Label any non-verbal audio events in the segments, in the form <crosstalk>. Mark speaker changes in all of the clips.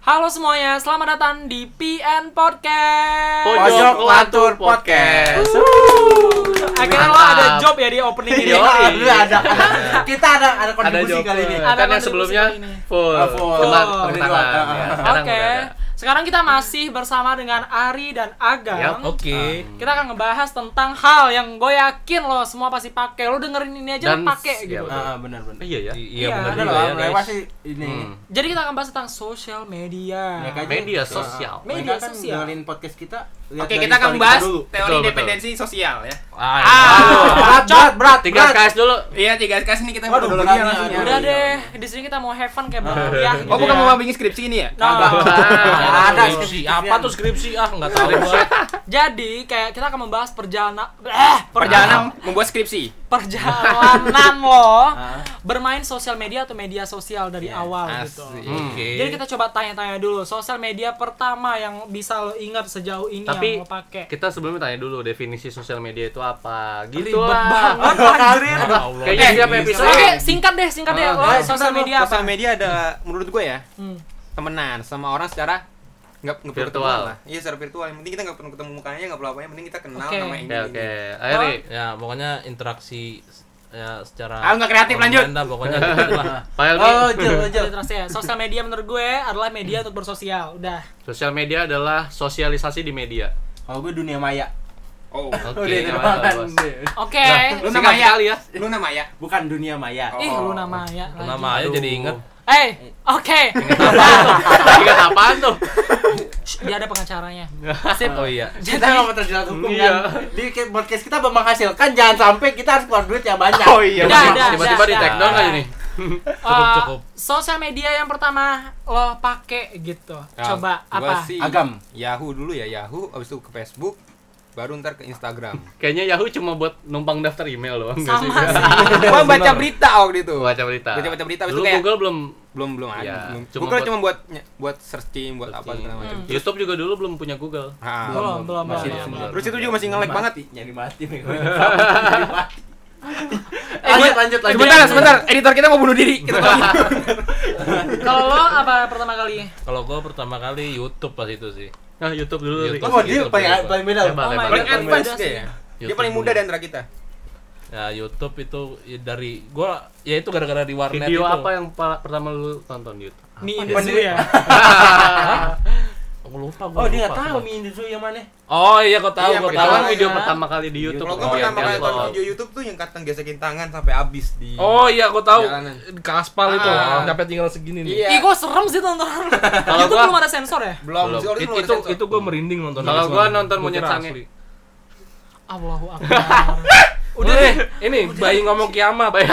Speaker 1: Halo semuanya, selamat datang di PN Podcast.
Speaker 2: Pojok Lantur Podcast.
Speaker 1: Wuh, Akhirnya lo
Speaker 2: Mantap.
Speaker 1: ada job ya di opening ini. Ada
Speaker 2: Yo, iya.
Speaker 3: Alhamdulillah <laughs> ada. Kita ada ada kontribusi
Speaker 2: joker.
Speaker 3: kali ini.
Speaker 1: Ada
Speaker 2: Kan yang
Speaker 1: kontribusi
Speaker 2: sebelumnya
Speaker 1: kali ini.
Speaker 2: full.
Speaker 3: Ah, full.
Speaker 2: Cuma
Speaker 3: Full.
Speaker 2: tepuk
Speaker 3: Ini
Speaker 2: tangan.
Speaker 3: dua. Ah,
Speaker 2: Ya,
Speaker 3: ah.
Speaker 2: sekarang
Speaker 1: Oke.
Speaker 2: udah ada.
Speaker 1: Sekarang kita masih bersama dengan Ari dan
Speaker 2: Yap.
Speaker 1: Agam.
Speaker 4: Oke.
Speaker 1: Kita akan ngebahas tentang hal yang gue yakin lo semua pasti pakai. Lo dengerin ini aja lo
Speaker 2: Dan-
Speaker 1: pakai
Speaker 2: iya,
Speaker 1: gitu.
Speaker 2: betul.
Speaker 3: Ah, benar benar.
Speaker 2: Iya ya.
Speaker 4: I-
Speaker 1: Iya,
Speaker 4: Iya benar
Speaker 3: Ada
Speaker 1: Bener
Speaker 4: juga
Speaker 3: loh,
Speaker 4: ya guys.
Speaker 3: lewat sih ini.
Speaker 2: Hmm.
Speaker 1: Jadi kita akan bahas tentang sosial media.
Speaker 3: Mereka aja-
Speaker 2: Media
Speaker 3: Ah,
Speaker 2: sosial.
Speaker 1: Media
Speaker 3: Mereka kan
Speaker 1: sosial.
Speaker 3: dengerin podcast kita. lihat
Speaker 5: Oke,
Speaker 3: dari
Speaker 5: kita akan
Speaker 3: story
Speaker 5: bahas
Speaker 3: dulu.
Speaker 2: Betul,
Speaker 5: teori
Speaker 2: betul.
Speaker 5: dependensi sosial ya.
Speaker 2: Ah,
Speaker 4: iya.
Speaker 3: Aduh, berat, berat, berat,
Speaker 2: Tiga
Speaker 3: berat.
Speaker 2: KS dulu.
Speaker 5: Iya, tiga sekarang ini kita
Speaker 3: Waduh,
Speaker 5: metodologinya
Speaker 3: beratnya,
Speaker 5: langsung ya.
Speaker 1: Udah
Speaker 3: Iya.
Speaker 1: deh, di sini kita mau have fun kayak gitu berhadiah.
Speaker 5: Oh, bukan
Speaker 1: Nah,
Speaker 5: mau bikin skripsi ini ya?
Speaker 2: Ah,
Speaker 3: Ada
Speaker 4: skripsi.
Speaker 3: skripsi.
Speaker 4: Apa tuh skripsi? Ah, enggak tahu gua.
Speaker 1: Jadi kayak kita akan membahas perjalanan eh,
Speaker 5: Perjalanan membuat skripsi.
Speaker 1: perjalanan lo
Speaker 2: <laughs>
Speaker 3: Ah.
Speaker 1: bermain sosial media atau media sosial dari awal gitu.
Speaker 4: Oke.
Speaker 1: Jadi kita coba tanya-tanya dulu sosial media pertama yang bisa lo ingat sejauh ini
Speaker 2: Tapi-
Speaker 1: yang lo pakai.
Speaker 2: Kita sebelumnya tanya dulu definisi sosial media itu apa. Gitu
Speaker 1: Ribet
Speaker 2: lah.
Speaker 1: banget anjir.
Speaker 4: Aduh, Allah.
Speaker 2: Kayaknya ya,
Speaker 5: Eh,
Speaker 2: siapa
Speaker 4: ini
Speaker 2: episode?
Speaker 1: Oke, singkat deh, singkat deh.
Speaker 2: Ah,
Speaker 1: Lo
Speaker 3: ah,
Speaker 1: sosial
Speaker 3: singkat,
Speaker 1: media
Speaker 5: Sosial
Speaker 1: apa?
Speaker 5: media ada menurut gue ya,
Speaker 1: Hmm.
Speaker 5: temenan sama orang secara nggak nggak perlu
Speaker 2: Virtual.
Speaker 5: ketemuan lah. Iya, secara virtual. Yang penting kita nggak perlu ketemu mukanya, nggak perlu apa Yang penting kita kenal
Speaker 1: Oke.
Speaker 5: nama ini.
Speaker 2: Oke, oke.
Speaker 5: ini.
Speaker 2: Ayo, Ri.
Speaker 4: Ya, pokoknya interaksi ya secara
Speaker 5: Ah, nggak kreatif,
Speaker 4: online
Speaker 5: lanjut.
Speaker 4: dah, pokoknya gitu lah.
Speaker 2: Pak Helmi.
Speaker 3: Oh, jel, jel.
Speaker 1: Literasi ya. Sosial media menurut gue adalah media untuk bersosial. Udah.
Speaker 2: Sosial media adalah sosialisasi di media. Iya,
Speaker 3: Kalau gue dunia
Speaker 5: <laughs>
Speaker 3: maya.
Speaker 5: Oh,
Speaker 2: Oke,
Speaker 3: Udah,
Speaker 2: nggak
Speaker 3: udah,
Speaker 2: apa-apa,
Speaker 3: makan.
Speaker 2: bos.
Speaker 1: Oke.
Speaker 2: Nah,
Speaker 5: lu
Speaker 2: Singkat
Speaker 5: nama ya?
Speaker 2: sekali ya.
Speaker 5: Lu nama ya?
Speaker 3: Bukan dunia maya.
Speaker 2: Nah.
Speaker 5: Oh.
Speaker 1: Ih, lu nama ya. lagi.
Speaker 4: Nama aja jadi inget.
Speaker 1: Eh, oke.
Speaker 2: Ingat apaan tuh?
Speaker 1: Shh, Dia ada pengacaranya.
Speaker 4: Oh iya.
Speaker 3: Kita nggak mau terjerat hukum
Speaker 2: Iya.
Speaker 3: kan. Di podcast kita menghasilkan jangan sampai kita harus keluar duit yang banyak.
Speaker 5: Oh, iya.
Speaker 1: Udah,
Speaker 2: Tiba-tiba-
Speaker 1: udah,
Speaker 2: Tiba-tiba
Speaker 1: udah,
Speaker 2: di
Speaker 1: udah.
Speaker 2: take
Speaker 3: Iya.
Speaker 2: down aja nih.
Speaker 4: Cukup,
Speaker 1: Eh,
Speaker 4: cukup.
Speaker 1: Sosial media yang pertama lo pakai gitu.
Speaker 5: Ya,
Speaker 2: Ya.
Speaker 1: Coba apa?
Speaker 3: Agam.
Speaker 5: Yahoo dulu ya, Yahoo. Abis itu ke Facebook, baru ntar ke
Speaker 2: <laughs>
Speaker 5: Instagram.
Speaker 2: Kayaknya Yahoo cuma buat numpang daftar email loh.
Speaker 1: Sama sih.
Speaker 5: Gua baca berita waktu itu.
Speaker 2: Baca berita.
Speaker 5: Gua baca berita, abis
Speaker 2: Dulu
Speaker 5: itu kayak-
Speaker 2: Google belum
Speaker 5: belum belum ada.
Speaker 2: Iya,
Speaker 5: Belum.
Speaker 2: cuma
Speaker 5: Google
Speaker 2: buat-
Speaker 5: cuma buat buat searching, buat apa segala macam.
Speaker 2: Hmm. YouTube juga dulu belum punya Google.
Speaker 5: Ah,
Speaker 1: Belum, belum,
Speaker 3: Masih
Speaker 1: belum,
Speaker 3: belum.
Speaker 1: belum.
Speaker 5: Terus itu juga masih nge-lag
Speaker 3: Mati,
Speaker 5: banget.
Speaker 3: Nyari mati. Bego. Nyari mati.
Speaker 5: Eh,
Speaker 3: Lanjut,
Speaker 5: gua-
Speaker 3: lanjut, lanjut.
Speaker 5: Sebentar, sebentar. Editor kita mau bunuh diri. Kita balik.
Speaker 1: Kalau lo apa pertama kali?
Speaker 4: Kalau gua pertama kali YouTube pas itu sih.
Speaker 2: Nah, YouTube dulu. Rik.
Speaker 3: Lo
Speaker 4: YouTube.
Speaker 3: mau
Speaker 5: Oh,
Speaker 3: deal paling paling beda lo?
Speaker 2: Hebat,
Speaker 1: Oh my
Speaker 2: hebat.
Speaker 1: God.
Speaker 5: paling
Speaker 1: Paling
Speaker 5: advance
Speaker 1: muda
Speaker 5: deh
Speaker 1: sih.
Speaker 5: ya. Dia
Speaker 4: YouTube
Speaker 5: paling muda
Speaker 4: dulu.
Speaker 5: di antara kita.
Speaker 4: Ya YouTube itu ya, dari gua ya itu gara-gara di warnet
Speaker 2: Video
Speaker 4: itu.
Speaker 2: apa yang pa- pertama lu tonton di YouTube?
Speaker 1: Mi
Speaker 3: Apa
Speaker 1: Inzu
Speaker 3: dia?
Speaker 1: ya.
Speaker 4: Aku lupa gua.
Speaker 3: Oh dia
Speaker 4: lupa.
Speaker 3: nggak tahu mi Indonesia yang mana?
Speaker 4: Oh iya gua tahu,
Speaker 5: Iya,
Speaker 4: gua tahu.
Speaker 5: pertama
Speaker 2: Pertama kan video
Speaker 3: ya.
Speaker 2: pertama kali di YouTube.
Speaker 5: Kalau
Speaker 2: Oh,
Speaker 5: gue pertama
Speaker 2: yang
Speaker 5: kali
Speaker 2: di
Speaker 5: nonton
Speaker 2: upload.
Speaker 5: video YouTube tuh yang katang gesekin tangan sampai habis di
Speaker 4: Oh iya, aku tahu.
Speaker 5: Jalanan.
Speaker 4: Ke aspal itu,
Speaker 5: Ah.
Speaker 4: sampai tinggal segini nih.
Speaker 5: Iya.
Speaker 1: Ih, gue serem sih tontonan. <laughs>
Speaker 2: Kalau
Speaker 1: Itu
Speaker 2: gua-
Speaker 1: belum ada sensor ya?
Speaker 5: belum.
Speaker 2: Belum.
Speaker 5: Sih, waktu
Speaker 4: Itu
Speaker 5: belum
Speaker 4: itu,
Speaker 5: ada sensor.
Speaker 4: itu gue merinding nonton.
Speaker 2: Kalau
Speaker 4: itu
Speaker 2: gua
Speaker 4: semua.
Speaker 2: nonton
Speaker 4: Gua
Speaker 2: monyet
Speaker 4: kira
Speaker 2: sange. <laughs>
Speaker 4: asli.
Speaker 1: Allahu Akbar.
Speaker 4: Udah
Speaker 2: <laughs>
Speaker 4: deh, ini bayi ngomong kiamat.
Speaker 2: Iya,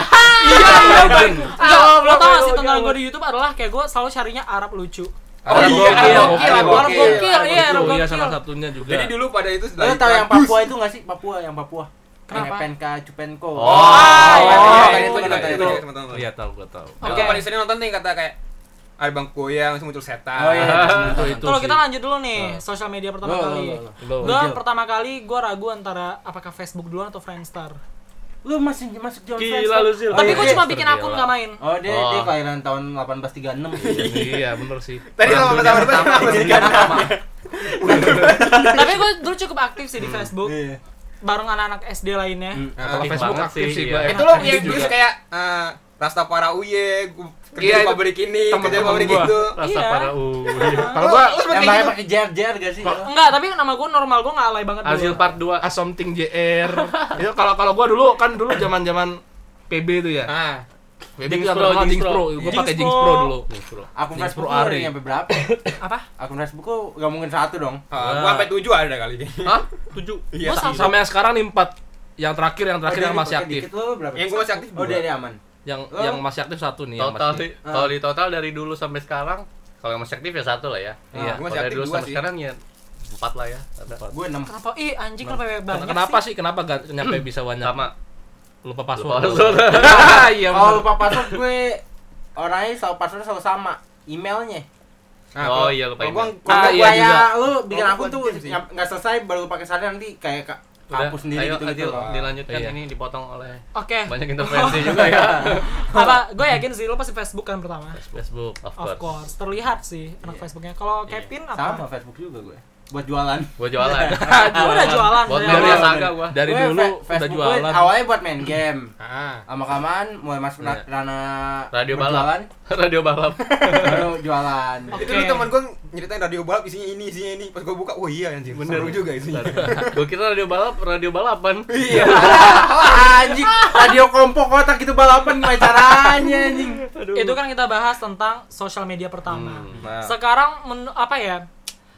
Speaker 2: bener.
Speaker 1: Enggak, lo tau gak sih
Speaker 2: Belum,
Speaker 1: tontonan
Speaker 2: belum.
Speaker 1: gue di Youtube adalah kayak gue selalu carinya Arab lucu
Speaker 2: Oh,
Speaker 4: Arab
Speaker 2: iya.
Speaker 4: gokil.
Speaker 2: Arab
Speaker 1: Gokil, Arab
Speaker 3: Arab
Speaker 1: gokil,
Speaker 3: gokil.
Speaker 1: iya Arab
Speaker 4: Oh iya,
Speaker 1: gokil
Speaker 4: salah satunya juga.
Speaker 5: Jadi dulu pada itu Ah, iya,
Speaker 3: Lo tau yang Papua itu nggak sih? Papua yang Papua.
Speaker 1: Kenapa?
Speaker 3: Penka Ah, Cupenko.
Speaker 5: Oh,
Speaker 1: iya, iya,
Speaker 3: itu
Speaker 5: iya, itu
Speaker 3: benar,
Speaker 5: itu
Speaker 3: itu.
Speaker 4: Iya, tahu gua tahu.
Speaker 1: Oke.
Speaker 5: Oke, paling sering nonton tuh yang kata kayak ada bang goyang, terus muncul setan. Nah,
Speaker 3: Oh, iya.
Speaker 4: Itu itu.
Speaker 1: Kalau
Speaker 4: sih.
Speaker 1: kita lanjut dulu nih, sosial media pertama
Speaker 3: Lo, lo,
Speaker 1: kali
Speaker 3: lo, lo.
Speaker 4: Lo.
Speaker 1: Gue
Speaker 3: Lanjut.
Speaker 1: pertama kali gue ragu antara apakah Facebook duluan atau Friendster
Speaker 3: Lu masih masuk zaman
Speaker 2: Gila lu sih.
Speaker 1: Tapi
Speaker 3: iya,
Speaker 1: gue
Speaker 3: iya.
Speaker 1: cuma bikin
Speaker 4: Tergila.
Speaker 1: akun gak main
Speaker 3: Oh dia
Speaker 2: Oh.
Speaker 3: dia kelahiran tahun 1836.
Speaker 4: Iya, bener sih.
Speaker 5: Tadi sama
Speaker 4: Perang dunia
Speaker 5: pertama pertama
Speaker 4: pertama.
Speaker 5: pertama.
Speaker 1: Tapi gue dulu cukup aktif sih di
Speaker 2: Hmm.
Speaker 1: Facebook
Speaker 3: Iya.
Speaker 1: Bareng anak-anak SD lainnya
Speaker 4: Kalau
Speaker 2: Aktif
Speaker 4: Facebook
Speaker 2: banget
Speaker 4: aktif
Speaker 2: sih,
Speaker 4: sih
Speaker 2: iya.
Speaker 4: gua.
Speaker 5: Itu lo
Speaker 4: Aktif
Speaker 5: yang
Speaker 4: juga.
Speaker 5: terus kayak eh, gitu Rasta para uye, gua
Speaker 4: Iya,
Speaker 5: kerja di
Speaker 4: itu
Speaker 5: pabrik ini,
Speaker 4: temen-temen
Speaker 5: kerja di pabrik
Speaker 4: gua.
Speaker 5: itu.
Speaker 2: Rasa uh.
Speaker 1: Iya.
Speaker 2: para u.
Speaker 4: Kalau gua
Speaker 5: Lu sempet
Speaker 3: Yang
Speaker 5: kayak
Speaker 3: pakai
Speaker 5: gitu?
Speaker 3: pakai jer-jer gak sih? Lo?
Speaker 1: Enggak, tapi nama gue normal, gue gak alay banget dulu.
Speaker 2: Hasil part 2.
Speaker 4: Ah, something JR. Itu kalau kalau gua dulu kan dulu zaman-zaman PB itu ya.
Speaker 5: Ah.
Speaker 2: Jinx
Speaker 4: PB itu yang
Speaker 2: Pro,
Speaker 4: terkenal
Speaker 2: Jinx
Speaker 4: Jinx
Speaker 2: Pro.
Speaker 4: Pro. Gua
Speaker 1: Jinx
Speaker 4: pakai Jinx
Speaker 1: Pro.
Speaker 4: Pro dulu.
Speaker 3: Akun
Speaker 4: Jinx Pro
Speaker 3: Facebook lu
Speaker 4: Ari.
Speaker 3: nyampe berapa?
Speaker 1: Apa?
Speaker 3: Akun Facebook lu gak mungkin satu dong.
Speaker 5: Ah, gua sampai tujuh ada kali.
Speaker 4: Hah? 7.
Speaker 5: Iya,
Speaker 1: Gua
Speaker 4: Sama yang sekarang nih 4. Yang terakhir yang terakhir
Speaker 3: Oh, dia
Speaker 4: yang masih
Speaker 3: pakai
Speaker 4: aktif.
Speaker 3: dikit, lu berapa?
Speaker 5: Yang gua masih aktif
Speaker 3: Oh
Speaker 5: dua.
Speaker 3: dia dia aman.
Speaker 4: Yang
Speaker 3: Oh.
Speaker 4: yang masih aktif satu nih yang
Speaker 2: Total
Speaker 4: masih.
Speaker 2: sih. Kalau di total dari dulu sampai sekarang, kalau yang masih aktif ya satu lah ya.
Speaker 4: Iya.
Speaker 5: Gua
Speaker 2: Kalau
Speaker 5: masih
Speaker 2: dari
Speaker 5: aktif
Speaker 2: dulu
Speaker 5: dua
Speaker 2: sampai
Speaker 5: sih.
Speaker 2: sekarken ya empat lah ya. Ada.
Speaker 3: Gue 6.
Speaker 1: Kenapa? Ih, anjing kenapa banyak banget
Speaker 4: Kenapa
Speaker 1: sih?
Speaker 4: sih? Kenapa gak nyampe bisa banyak?
Speaker 2: Hmm. Sama.
Speaker 4: lupa password.
Speaker 2: Lupa password.
Speaker 4: <laughs> Ah, iya.
Speaker 3: Kalau
Speaker 4: bener.
Speaker 3: lupa password gue orangnya selalu password selalu sama emailnya.
Speaker 5: Nah,
Speaker 2: Oh
Speaker 5: kalau-
Speaker 2: iya lupa
Speaker 5: kalau
Speaker 2: ingat.
Speaker 5: gua-
Speaker 3: Kalau
Speaker 4: iya
Speaker 3: kayak
Speaker 4: juga.
Speaker 3: lu bikin
Speaker 5: Kalau
Speaker 3: akun
Speaker 5: gua
Speaker 3: tuh
Speaker 5: aktif sih.
Speaker 3: nyam- nggak selesai baru pakai sadar nanti kayak ka- kampus sendiri
Speaker 2: ayo,
Speaker 3: gitu-gitu
Speaker 2: Adil,
Speaker 3: loh.
Speaker 2: dilanjutkan
Speaker 5: Iya.
Speaker 2: ini dipotong oleh
Speaker 1: Oke.
Speaker 2: banyak intervensi juga ya
Speaker 1: Apa gue yakin sih lo pasti Facebook kan pertama.
Speaker 2: <laughs> Facebook of
Speaker 1: Of
Speaker 2: course,
Speaker 1: course, terlihat sih anak
Speaker 3: Iya.
Speaker 1: Facebooknya. Kalau
Speaker 2: Iya.
Speaker 1: Kevin apa?
Speaker 3: Sama Facebook juga gue. Buat jualan.
Speaker 2: gua jualan
Speaker 1: Gua udah jualan,
Speaker 2: buat
Speaker 1: saya.
Speaker 2: Melia Saga gua
Speaker 4: Dari
Speaker 3: Gue
Speaker 4: dulu
Speaker 3: fe-
Speaker 4: udah
Speaker 3: Facebook gue
Speaker 4: jualan.
Speaker 3: awalnya buat main game.
Speaker 5: Ah,
Speaker 3: Sama kaman mulai masuk
Speaker 2: Iya.
Speaker 3: ranah
Speaker 2: radio
Speaker 3: berjualan,
Speaker 2: balap <laughs> radio
Speaker 4: <laughs>
Speaker 2: balap
Speaker 3: baru jualan.
Speaker 1: Oke.
Speaker 5: itu dulu teman gue nyeritain radio balap isinya ini, isinya ini. Pas gue buka, wah iya anjir.
Speaker 2: Bener.
Speaker 5: Seru juga isinya.
Speaker 2: gua kira radio balap radio balapan
Speaker 3: Iya. Wah, anjing, radio kompok kotak gitu balapan gimana caranya anjing.
Speaker 1: Itu kan kita bahas tentang sosial media pertama.
Speaker 2: Hmm.
Speaker 5: Nah,
Speaker 1: Sekarang men- apa ya?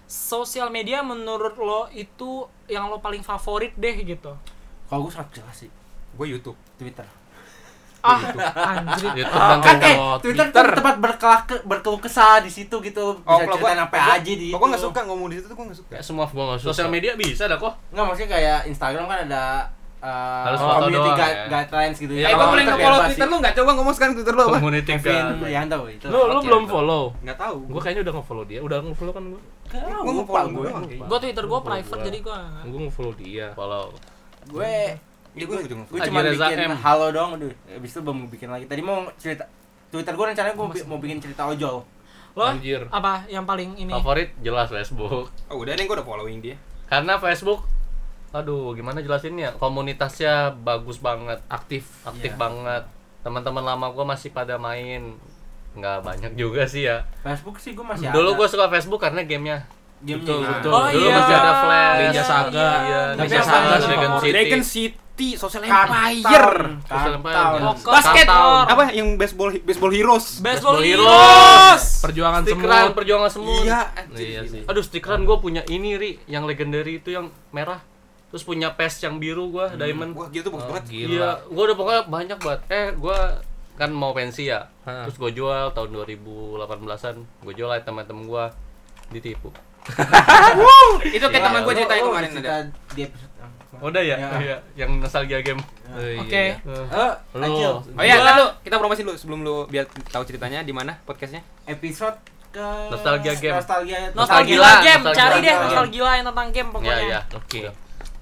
Speaker 1: Sosial media menurut lo itu yang lo paling favorit deh
Speaker 2: <laughs>
Speaker 1: gitu.
Speaker 3: Kalau gue sangat jelas sih
Speaker 5: gue YouTube.
Speaker 3: Twitter.
Speaker 1: Ah, anjir.
Speaker 2: YouTube dan
Speaker 3: kan eh
Speaker 2: Komoot.
Speaker 3: Twitter, tuh tempat berkelah berkeluh kesah di situ gitu bisa
Speaker 5: Oh, kalau
Speaker 3: ceritain
Speaker 5: gua-
Speaker 3: apa
Speaker 5: gua-
Speaker 3: aja di
Speaker 5: Kalau gue nggak suka ngomong di situ tuh gue nggak suka.
Speaker 2: Kayak semua gua nggak suka. Sosial media bisa dah kok.
Speaker 3: Nggak maksudnya kayak Instagram kan ada uh,
Speaker 2: Harus foto
Speaker 3: community
Speaker 2: doang,
Speaker 3: gui-
Speaker 2: ya.
Speaker 3: guidelines gitu
Speaker 2: Iya,
Speaker 5: Eh, gue
Speaker 2: kalau
Speaker 5: paling nggak
Speaker 2: Twitter
Speaker 5: follow Twitter lu nggak coba ngomong sekarang Twitter lu apa?
Speaker 2: Community
Speaker 3: Kevin Iya. Prianto
Speaker 2: Iya,
Speaker 3: itu.
Speaker 4: Lu lu belum follow.
Speaker 5: Nggak tahu.
Speaker 2: Gue kayaknya udah nge-follow dia. Udah nge-follow kan gue.
Speaker 5: gue
Speaker 3: lupa
Speaker 5: nge-follow
Speaker 3: gue.
Speaker 5: gue.
Speaker 1: Gue Twitter gue
Speaker 2: Gua-
Speaker 1: private
Speaker 2: gua-
Speaker 1: jadi gue
Speaker 2: Gue nge-follow dia. Follow.
Speaker 3: Gue
Speaker 5: Iya, gue juga nge-follow.
Speaker 3: gue cuma
Speaker 2: Haji Reza
Speaker 3: bikin
Speaker 2: M.
Speaker 3: halo dong aduh. Habis itu belum bikin lagi. Tadi mau cerita Twitter gue rencananya gue bi- mau bikin cerita ojol.
Speaker 1: Lo
Speaker 2: Anjir.
Speaker 1: apa yang paling ini?
Speaker 2: Favorit jelas Facebook.
Speaker 5: Oh udah nih gue udah following dia.
Speaker 2: Karena Facebook aduh gimana jelasinnya? Komunitasnya bagus banget, aktif, aktif
Speaker 3: Iya.
Speaker 2: banget. Teman-teman lama gue masih pada main. Nggak banyak juga sih ya.
Speaker 3: Facebook sih gue masih
Speaker 2: Dulu
Speaker 3: Ya, ada.
Speaker 2: gue suka Facebook karena gamenya.
Speaker 3: Game-nya.
Speaker 4: Betul,
Speaker 3: Nah,
Speaker 4: betul.
Speaker 2: Dulu masih ada Flash,
Speaker 1: iya,
Speaker 4: Ninja Saga,
Speaker 1: iya.
Speaker 2: Iya,
Speaker 4: Tapi
Speaker 2: Ninja
Speaker 4: yang
Speaker 2: Saga,
Speaker 4: paling
Speaker 2: Dragon
Speaker 4: favorit-
Speaker 2: City.
Speaker 4: Dragon City, Social
Speaker 3: Kartan.
Speaker 4: Empire.
Speaker 2: Social Empire,
Speaker 3: Kartan.
Speaker 2: jelas.
Speaker 1: Basket,
Speaker 2: Kartan.
Speaker 1: Lor.
Speaker 5: Apa yang baseball baseball heroes?
Speaker 1: Baseball
Speaker 2: Baseball
Speaker 1: Heroes.
Speaker 4: Perjuangan
Speaker 2: Stikeran
Speaker 4: semut.
Speaker 2: perjuangan semut.
Speaker 5: Iya, anjir.
Speaker 2: Iya sih. Aduh, stikeran gue punya ini, Ri, yang legendary itu yang merah. Terus punya pes yang biru gua, diamond.
Speaker 5: Wah gitu bagus banget.
Speaker 4: gila.
Speaker 2: Iya, gua udah pokoknya banyak banget. Eh, gua kan mau pensi ya.
Speaker 4: Hah.
Speaker 2: Terus gua jual tahun 2018-an. Gua jual lah teman-teman gua ditipu.
Speaker 5: Itu kayak teman gue
Speaker 3: Lu-
Speaker 5: ceritain
Speaker 3: lu
Speaker 5: kemarin
Speaker 3: oh, cerita
Speaker 5: ada.
Speaker 3: di episode. ah.
Speaker 2: Udah ya?
Speaker 3: Ya.
Speaker 2: Iya, yang nostalgia game.
Speaker 4: Oh, iya,
Speaker 1: Oke.
Speaker 2: Iya.
Speaker 3: Eh,
Speaker 2: Lu.
Speaker 3: Acil,
Speaker 5: Oh iya,
Speaker 1: Gua-
Speaker 5: ntar lu kita promosi dulu sebelum lu biar tahu ceritanya di mana podcastnya.
Speaker 3: episode ke
Speaker 2: Nostalgia game.
Speaker 3: Nostalgia
Speaker 1: Nostalgia
Speaker 2: Nostalgia,
Speaker 1: game,
Speaker 2: nostalgia.
Speaker 1: cari deh
Speaker 3: Nostalgia.
Speaker 1: nostalgia yang tentang game
Speaker 2: Iya,
Speaker 1: pokoknya.
Speaker 2: iya.
Speaker 4: Oke.
Speaker 2: Udah.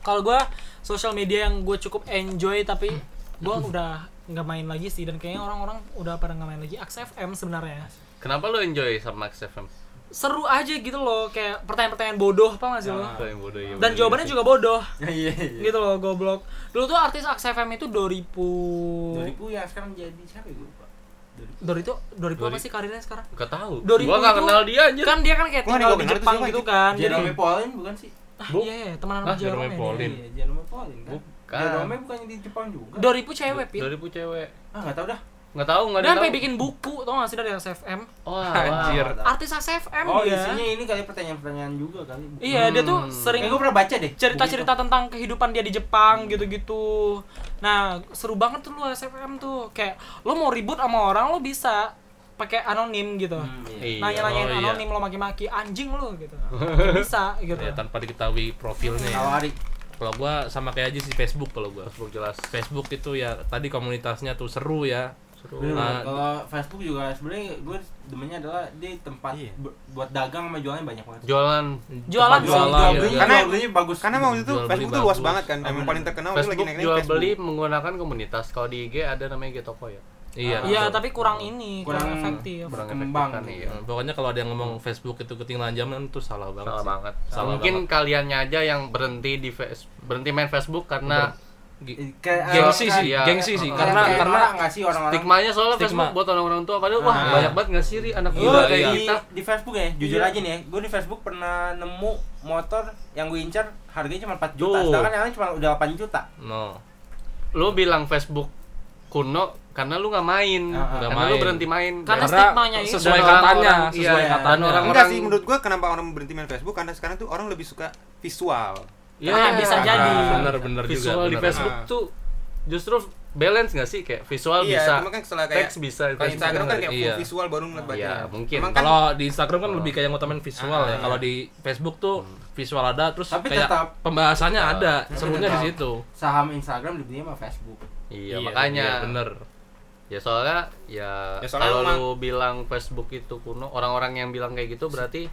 Speaker 1: Kalau gue social media yang gue cukup enjoy tapi gue udah nggak main lagi sih dan kayaknya orang-orang udah pada nggak main lagi XFM sebenarnya.
Speaker 2: Kenapa lu enjoy sama XFM?
Speaker 1: Seru aja gitu loh kayak pertanyaan-pertanyaan bodoh apa nggak sih lo?
Speaker 2: Itu yang bodoh, iya,
Speaker 1: Dan
Speaker 2: bodoh.
Speaker 1: jawabannya juga bodoh.
Speaker 3: Iya, iya.
Speaker 1: Gitu loh goblok. Dulu tuh artis XFM itu 2000
Speaker 3: 2000 ya sekarang jadi siapa ya gue lupa. 2000.
Speaker 1: Dori itu 2000 apa
Speaker 2: 2000.
Speaker 1: sih karirnya sekarang?
Speaker 2: Gak tahu.
Speaker 1: 2000
Speaker 2: Gua gak
Speaker 1: itu-
Speaker 2: kenal dia anjir.
Speaker 1: Kan dia kan kayak
Speaker 5: Wah,
Speaker 1: tinggal
Speaker 5: dia
Speaker 1: di
Speaker 5: gak kenal
Speaker 1: Jepang
Speaker 5: tuh siapa
Speaker 1: gitu kan.
Speaker 3: Jerome Pauline bukan sih?
Speaker 2: Bu-
Speaker 1: Iya, iya, temenan sama
Speaker 2: Ah, Jerome
Speaker 1: Jerome. ya dia.
Speaker 2: Pauline.
Speaker 3: Iya, Jerome Pauline kan.
Speaker 2: Bukan.
Speaker 3: Jerome bukannya di Jepang juga.
Speaker 1: 2000 cewek, Pit.
Speaker 2: 2000 cewek.
Speaker 3: Ah, enggak tahu dah.
Speaker 2: Nggak tahu, nggak ada
Speaker 1: Dia
Speaker 2: yang
Speaker 1: sampai
Speaker 2: tahu.
Speaker 1: bikin buku tau gak sih dari SFM?
Speaker 2: Wah,
Speaker 5: Anjir.
Speaker 2: wah.
Speaker 1: Artis SFM
Speaker 3: Oh,
Speaker 1: dia.
Speaker 3: isinya ini kali pertanyaan-pertanyaan juga kali.
Speaker 1: Iya, dia tuh
Speaker 2: Hmm.
Speaker 1: sering
Speaker 3: Kayaknya gue pernah baca deh.
Speaker 1: cerita-cerita tentang kehidupan dia di Jepang gitu-gitu. Nah, seru banget tuh lu SFM tuh. Kayak lo mau ribut sama orang lo bisa pakai anonim gitu.
Speaker 3: Hmm, iya.
Speaker 2: Iya.
Speaker 1: Nanya-nanyain
Speaker 2: Oh, iya.
Speaker 1: anonim lo maki-maki anjing lo gitu. bisa gitu.
Speaker 4: Ya, tanpa diketahui profilnya. ya.
Speaker 3: Kalau hari
Speaker 4: Kalau gua sama kayak aja sih Facebook kalau gua.
Speaker 2: Facebook jelas.
Speaker 4: Facebook itu ya tadi komunitasnya tuh seru ya.
Speaker 2: Seru.
Speaker 3: Bener,
Speaker 4: Nah,
Speaker 3: kalau Facebook juga sebenarnya gue demennya adalah di tempat
Speaker 5: Iya.
Speaker 3: bu- buat dagang sama jualannya banyak banget.
Speaker 2: Jualan iya.
Speaker 1: Jualan
Speaker 4: tempat
Speaker 1: sih.
Speaker 3: Jual, jual
Speaker 4: jualan, ya.
Speaker 3: belinya,
Speaker 5: Karena-
Speaker 3: jual belinya bagus.
Speaker 5: Karena waktu itu
Speaker 4: Jual beli
Speaker 5: Facebook tuh luas
Speaker 4: bagus.
Speaker 5: banget kan. Emang
Speaker 3: Bener.
Speaker 5: paling terkenal itu lagi
Speaker 2: Facebook
Speaker 5: naik-naik
Speaker 2: jual beli menggunakan komunitas. Kalau di IG ada namanya Getoko ya.
Speaker 4: Iya.
Speaker 1: Iya, tapi kurang ini, kurang,
Speaker 3: Kurang-
Speaker 1: efektif.
Speaker 3: kurang-
Speaker 2: Berkembang
Speaker 3: Berkembang.
Speaker 2: iya.
Speaker 4: Nah, Pokoknya kalau ada yang ngomong Facebook itu ketinggalan zaman tuh salah
Speaker 2: Salah
Speaker 4: banget. sih.
Speaker 2: banget.
Speaker 4: Salah
Speaker 2: Mungkin
Speaker 4: banget.
Speaker 2: kaliannya aja yang berhenti di face, berhenti main Facebook karena
Speaker 3: Eh, kayak-
Speaker 4: Gengsi
Speaker 3: kayak-
Speaker 4: sih,
Speaker 2: Iya.
Speaker 4: gengsi sih.
Speaker 3: kayak-
Speaker 4: Karena
Speaker 3: kayak
Speaker 4: karena
Speaker 1: Iya.
Speaker 3: marah nggak sih orang-orang
Speaker 2: stigmanya soalnya
Speaker 4: Stigma.
Speaker 2: Facebook buat orang-orang tua padahal wah
Speaker 3: Ah. iya.
Speaker 2: banyak banget nggak sih Ri, anak
Speaker 3: Gue
Speaker 2: muda
Speaker 3: di,
Speaker 2: kayak kita.
Speaker 3: di Facebook ya, jujur
Speaker 2: Iya.
Speaker 3: aja nih ya, gue di Facebook pernah nemu motor yang gue incar harganya cuma 4
Speaker 2: Tuh.
Speaker 3: juta, sedangkan yang lain cuma udah 8 juta.
Speaker 4: no.
Speaker 2: Lu bilang Facebook kuno karena lu nggak main.
Speaker 3: Ah, ah.
Speaker 2: Karena
Speaker 4: Nggak
Speaker 2: lu
Speaker 4: main.
Speaker 2: berhenti main.
Speaker 1: Karena
Speaker 2: Dan-
Speaker 1: stigmanya itu.
Speaker 4: sesuai
Speaker 2: Dan
Speaker 4: katanya,
Speaker 2: orang-orang-
Speaker 4: sesuai
Speaker 3: iya.
Speaker 4: katanya.
Speaker 2: Dan orang-orang-
Speaker 5: Enggak sih menurut gua kenapa orang berhenti main Facebook karena sekarang tuh orang lebih suka visual.
Speaker 2: Iya,
Speaker 1: Karena bisa jadi.
Speaker 4: Bener-bener juga.
Speaker 2: visual di
Speaker 4: bener.
Speaker 2: Facebook
Speaker 5: Ah.
Speaker 2: tuh justru balance nggak sih kayak visual
Speaker 5: iya,
Speaker 2: Oh, bisa,
Speaker 5: cuma kan setelah kayak
Speaker 2: teks bisa. di
Speaker 5: kalau
Speaker 2: Facebook
Speaker 5: Instagram kan
Speaker 2: nggak-
Speaker 5: kayak
Speaker 4: Iya.
Speaker 5: full visual baru
Speaker 2: Iya,
Speaker 5: ngeliat bacanya.
Speaker 2: mungkin.
Speaker 5: Emang kan
Speaker 4: Kalau di Instagram kan lebih kayak ngutamain visual ya.
Speaker 5: Ah.
Speaker 4: Kalau di Facebook tuh visual ada terus
Speaker 3: Tapi
Speaker 4: kayak
Speaker 3: tetap-
Speaker 4: pembahasannya
Speaker 2: Ah.
Speaker 4: ada,
Speaker 3: Tapi
Speaker 4: serunya di
Speaker 3: tetap.
Speaker 4: situ.
Speaker 3: Saham Instagram dibelinya sama Facebook.
Speaker 2: Iya, makanya.
Speaker 4: iya, bener.
Speaker 2: Ya soalnya ya,
Speaker 5: Ya, soalnya
Speaker 2: kalau
Speaker 5: emang-
Speaker 2: lu bilang Facebook itu kuno, orang-orang yang bilang kayak gitu berarti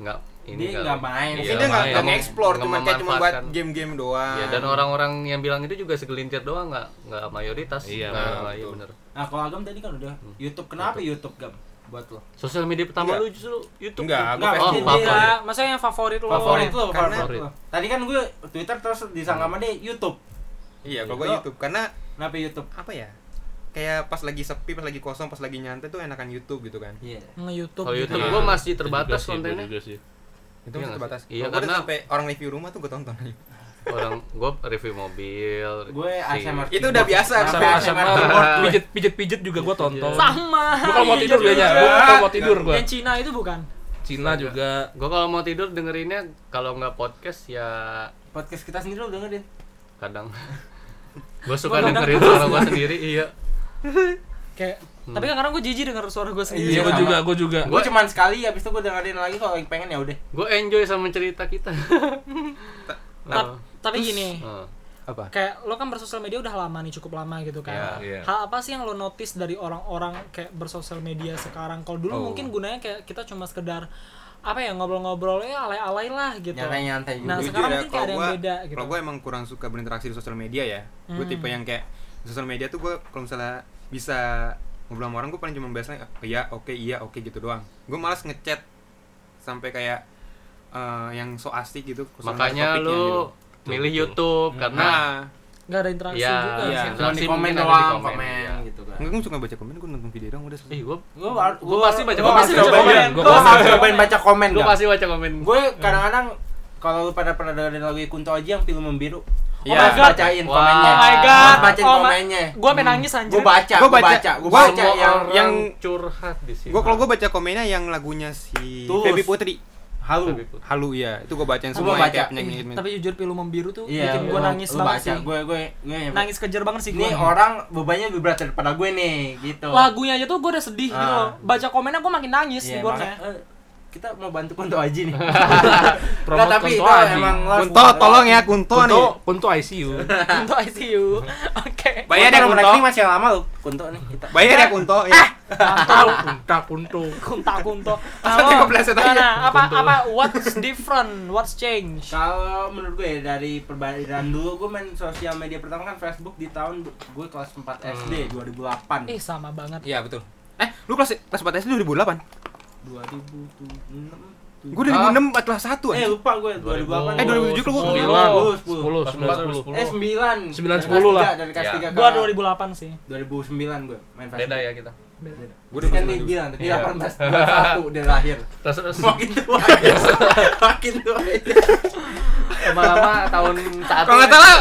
Speaker 2: nggak ini
Speaker 3: Dia nggak
Speaker 2: Iya,
Speaker 3: main.
Speaker 5: Mungkin dia nggak
Speaker 2: main.
Speaker 5: nggak nge-explore, cuma kayak cuma buat
Speaker 2: memanfaatkan.
Speaker 5: game-game doang.
Speaker 2: Iya, dan orang-orang yang bilang itu juga segelintir doang nggak nggak mayoritas
Speaker 4: Iya,
Speaker 2: Nggak-
Speaker 4: benar,
Speaker 2: nggak- iya
Speaker 5: betul.
Speaker 2: bener
Speaker 3: Nah, kalau Agam tadi kan udah YouTube. Kenapa YouTube, Gam? Buat lo.
Speaker 2: sosial media pertama
Speaker 5: Enggak.
Speaker 2: lu justru YouTube
Speaker 5: Enggak, gua
Speaker 3: Enggak,
Speaker 5: Facebook.
Speaker 2: oh,
Speaker 1: Iya,
Speaker 2: favorit.
Speaker 1: maksudnya yang favorit lo.
Speaker 3: Favorit lo,
Speaker 5: Karena-
Speaker 3: favorit lo. Tadi kan gue Twitter terus disangka sama dia YouTube.
Speaker 5: Iya, kalau gua
Speaker 3: Iya.
Speaker 5: YouTube karena
Speaker 3: Kenapa YouTube?
Speaker 5: apa ya? Kayak pas lagi sepi, pas lagi kosong, pas lagi nyantai tuh enakan YouTube gitu kan.
Speaker 3: Iya.
Speaker 1: Nge-YouTube.
Speaker 2: kalau
Speaker 1: gitu
Speaker 2: YouTube
Speaker 1: ya.
Speaker 2: gua
Speaker 4: Iya.
Speaker 2: masih terbatas
Speaker 4: Itu juga sih,
Speaker 2: kontennya
Speaker 4: gua juga sih.
Speaker 5: Itu
Speaker 2: Iya
Speaker 5: masih
Speaker 2: nggak sih?
Speaker 5: terbatas.
Speaker 2: Iya,
Speaker 5: Kalau gua udah
Speaker 2: karena-
Speaker 5: sampai orang review rumah tuh gua tonton.
Speaker 2: orang gua review mobil
Speaker 3: Gue
Speaker 2: si-
Speaker 3: ASMR.
Speaker 5: Itu udah biasa,
Speaker 3: Kenapa
Speaker 5: ASMR. <laughs>
Speaker 3: ASMR?
Speaker 4: pijet pijet pijet Ah, juga gua tonton
Speaker 1: Sama.
Speaker 4: gua kalau mau
Speaker 1: iya
Speaker 4: tidur
Speaker 1: juga. Iya.
Speaker 4: kayaknya gua kalau mau tidur gua
Speaker 1: Yang Cina itu bukan.
Speaker 4: Cina juga
Speaker 2: gua kalau mau tidur dengerinnya kalau nggak podcast ya
Speaker 3: Podcast kita sendiri lo dengerin.
Speaker 2: kadang <laughs> gua suka dengerin suara gua sendiri iya
Speaker 1: Kayak tapi kadang gue jijik denger suara gue sendiri.
Speaker 4: Hmm. iya gua
Speaker 3: sama.
Speaker 4: juga gua juga
Speaker 3: Gue cuman sekali, habis itu gue dengerin lagi kalau lagi pengen ya udah.
Speaker 2: gua enjoy sama cerita kita Eh,
Speaker 4: Nah,
Speaker 1: Ta- tapi gini,
Speaker 2: Heeh.
Speaker 5: Apa?
Speaker 1: kayak lo kan bersosial media udah lama nih, cukup lama gitu kan.
Speaker 4: Iya.
Speaker 1: Hal apa sih yang lo notice dari orang-orang kayak bersosial media sekarang? Kalau dulu
Speaker 4: Oh.
Speaker 1: mungkin gunanya kayak kita cuma sekedar apa ya ngobrol-ngobrol ya alay-alay lah gitu.
Speaker 3: Nyantai-nyantai juga.
Speaker 1: Nah,
Speaker 5: Jujur
Speaker 1: sekarang
Speaker 5: ya,
Speaker 1: mungkin kayak
Speaker 5: kalau
Speaker 1: ada yang
Speaker 5: gua-
Speaker 1: beda gitu. Hmm.
Speaker 5: Kalau gue emang kurang suka berinteraksi di sosial media ya. Gue tipe yang kayak di sosial media tuh gue kalau misalnya bisa ngobrol sama orang gue paling cuma biasanya iya oke iya oke gitu doang. Gue malas ngechat sampai kayak eh, yang so asik gitu. kurang
Speaker 2: makanya
Speaker 5: ada topiknya
Speaker 2: lu milih YouTube
Speaker 5: Gitu.
Speaker 2: karena
Speaker 5: Nah,
Speaker 1: Gak ada interaksi
Speaker 2: Iya,
Speaker 1: juga.
Speaker 3: Iya,
Speaker 1: sih.
Speaker 3: cuma
Speaker 2: interaksi
Speaker 3: di komen
Speaker 2: mungkin ada di
Speaker 3: doang,
Speaker 2: komen,
Speaker 3: komen
Speaker 2: iya.
Speaker 3: gitu kan.
Speaker 5: enggak gue suka baca komen, gue nonton video doang udah selesai.
Speaker 2: ih gua
Speaker 3: Gue
Speaker 2: Gua pasti baca
Speaker 1: komen.
Speaker 3: pasti baca
Speaker 1: Gua
Speaker 3: komen.
Speaker 1: pasti
Speaker 3: Gue
Speaker 1: baca
Speaker 3: pasti
Speaker 1: komen.
Speaker 3: cobain baca komen.
Speaker 2: gua pasti baca komen
Speaker 3: Gue kadang-kadang kalau lu pada pernah dengerin lagu Kunto Aji yang film membiru,
Speaker 1: Oh my
Speaker 3: Mas
Speaker 1: god.
Speaker 3: bacain
Speaker 2: Wow.
Speaker 3: komennya.
Speaker 1: Oh my god.
Speaker 3: Mas Ah, bacain
Speaker 1: Oh my-
Speaker 3: komennya.
Speaker 1: Gue
Speaker 4: Hmm.
Speaker 1: pengen nangis anjir.
Speaker 3: Gue baca,
Speaker 5: Gua
Speaker 3: gue
Speaker 5: baca.
Speaker 3: baca, gue
Speaker 5: Gua-
Speaker 3: baca
Speaker 2: semua
Speaker 3: yang
Speaker 2: orang
Speaker 5: yang-
Speaker 2: curhat di sini
Speaker 5: Gue kalau gue baca komennya yang lagunya si
Speaker 3: Tulus.
Speaker 5: Feby Putri.
Speaker 3: halu.
Speaker 5: Halu ya, itu gue bacain
Speaker 3: Gua
Speaker 5: semua
Speaker 3: baca.
Speaker 5: kayak penyanyi
Speaker 1: Ih, tapi jujur pilu membiru tuh
Speaker 3: Iya,
Speaker 1: bikin gue nangis
Speaker 3: lu
Speaker 1: banget
Speaker 3: baca.
Speaker 1: sih.
Speaker 3: Gue gue gue yang-
Speaker 1: Nangis kejer banget sih gue.
Speaker 3: Ini orang bebannya lebih berat daripada gue nih, gitu.
Speaker 1: Lagunya aja tuh gue udah sedih gitu
Speaker 3: Ah.
Speaker 1: loh. Baca komennya gue makin nangis yeah,
Speaker 3: Iya, maka- eh, kita mau bantu Kunto Aji nih.
Speaker 1: <laughs>
Speaker 4: Promote
Speaker 3: tapi
Speaker 4: Kunto
Speaker 3: itu
Speaker 4: Aji.
Speaker 3: emang lo
Speaker 5: Kunto,
Speaker 3: harus-
Speaker 5: tolong ya Kunto,
Speaker 4: Kunto
Speaker 5: nih.
Speaker 4: Kunto ICU
Speaker 1: Untuk ICU. Oke.
Speaker 5: Bayar ya
Speaker 3: Kunto,
Speaker 5: Kunto.
Speaker 3: rekening masih lama lu, Kunto nih kita.
Speaker 5: Bayar ya Kunto.
Speaker 1: Ah!
Speaker 5: Ya.
Speaker 4: Kunta Kunto
Speaker 1: Kunta kunto.
Speaker 5: Asal tiga belas aja.
Speaker 1: Nah, apa apa what's different? What's change?
Speaker 3: Kalau menurut gue ya, dari perbandingan dulu gue main sosial media pertama kan Facebook di tahun bu- gue kelas 4 SD 2008.
Speaker 1: Eh sama banget.
Speaker 5: Iya, betul. Eh, lu kelas kelas 4 SD 2008.
Speaker 3: 2006.
Speaker 5: Gue 2006 kelas
Speaker 3: Eh
Speaker 5: 1 aja.
Speaker 3: lupa gue 2008.
Speaker 5: Eh, 2007 lu gua-
Speaker 4: 9
Speaker 3: 10.
Speaker 4: 10 9 10
Speaker 3: Eh 9.
Speaker 4: 9,
Speaker 3: Dari
Speaker 4: 10
Speaker 3: kelas
Speaker 4: lah.
Speaker 3: tiga, Dari kelas
Speaker 2: Ya.
Speaker 3: 3
Speaker 1: Gua 2008 sih.
Speaker 3: 2009 gue main Facebook.
Speaker 2: beda ya kita
Speaker 5: Gua
Speaker 3: Gue udah kan
Speaker 5: 2009.
Speaker 3: nih bilang tadi
Speaker 2: Iya.
Speaker 3: 18 21 dari lahir.
Speaker 2: terus terus
Speaker 3: Makin tua. aja. Makin tua. aja.
Speaker 2: lama-lama tahun satu
Speaker 5: Kalau nggak salah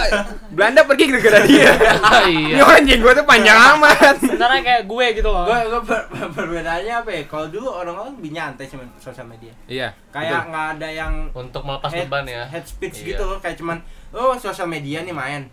Speaker 5: Belanda pergi gara-gara dia. <laughs> Ini
Speaker 4: iya
Speaker 5: orang jenggotnya panjang amat.
Speaker 1: Sebenarnya kayak gue gitu loh.
Speaker 3: Gue gue per- per- perbedaannya apa ya? Kalau dulu orang-orang lebih nyantai sama sosial media.
Speaker 5: Iya.
Speaker 3: Kayak nggak ada yang
Speaker 2: untuk melepas
Speaker 3: head,
Speaker 2: beban ya
Speaker 3: head speech
Speaker 2: Iya.
Speaker 3: gitu loh kayak cuman oh sosial media nih main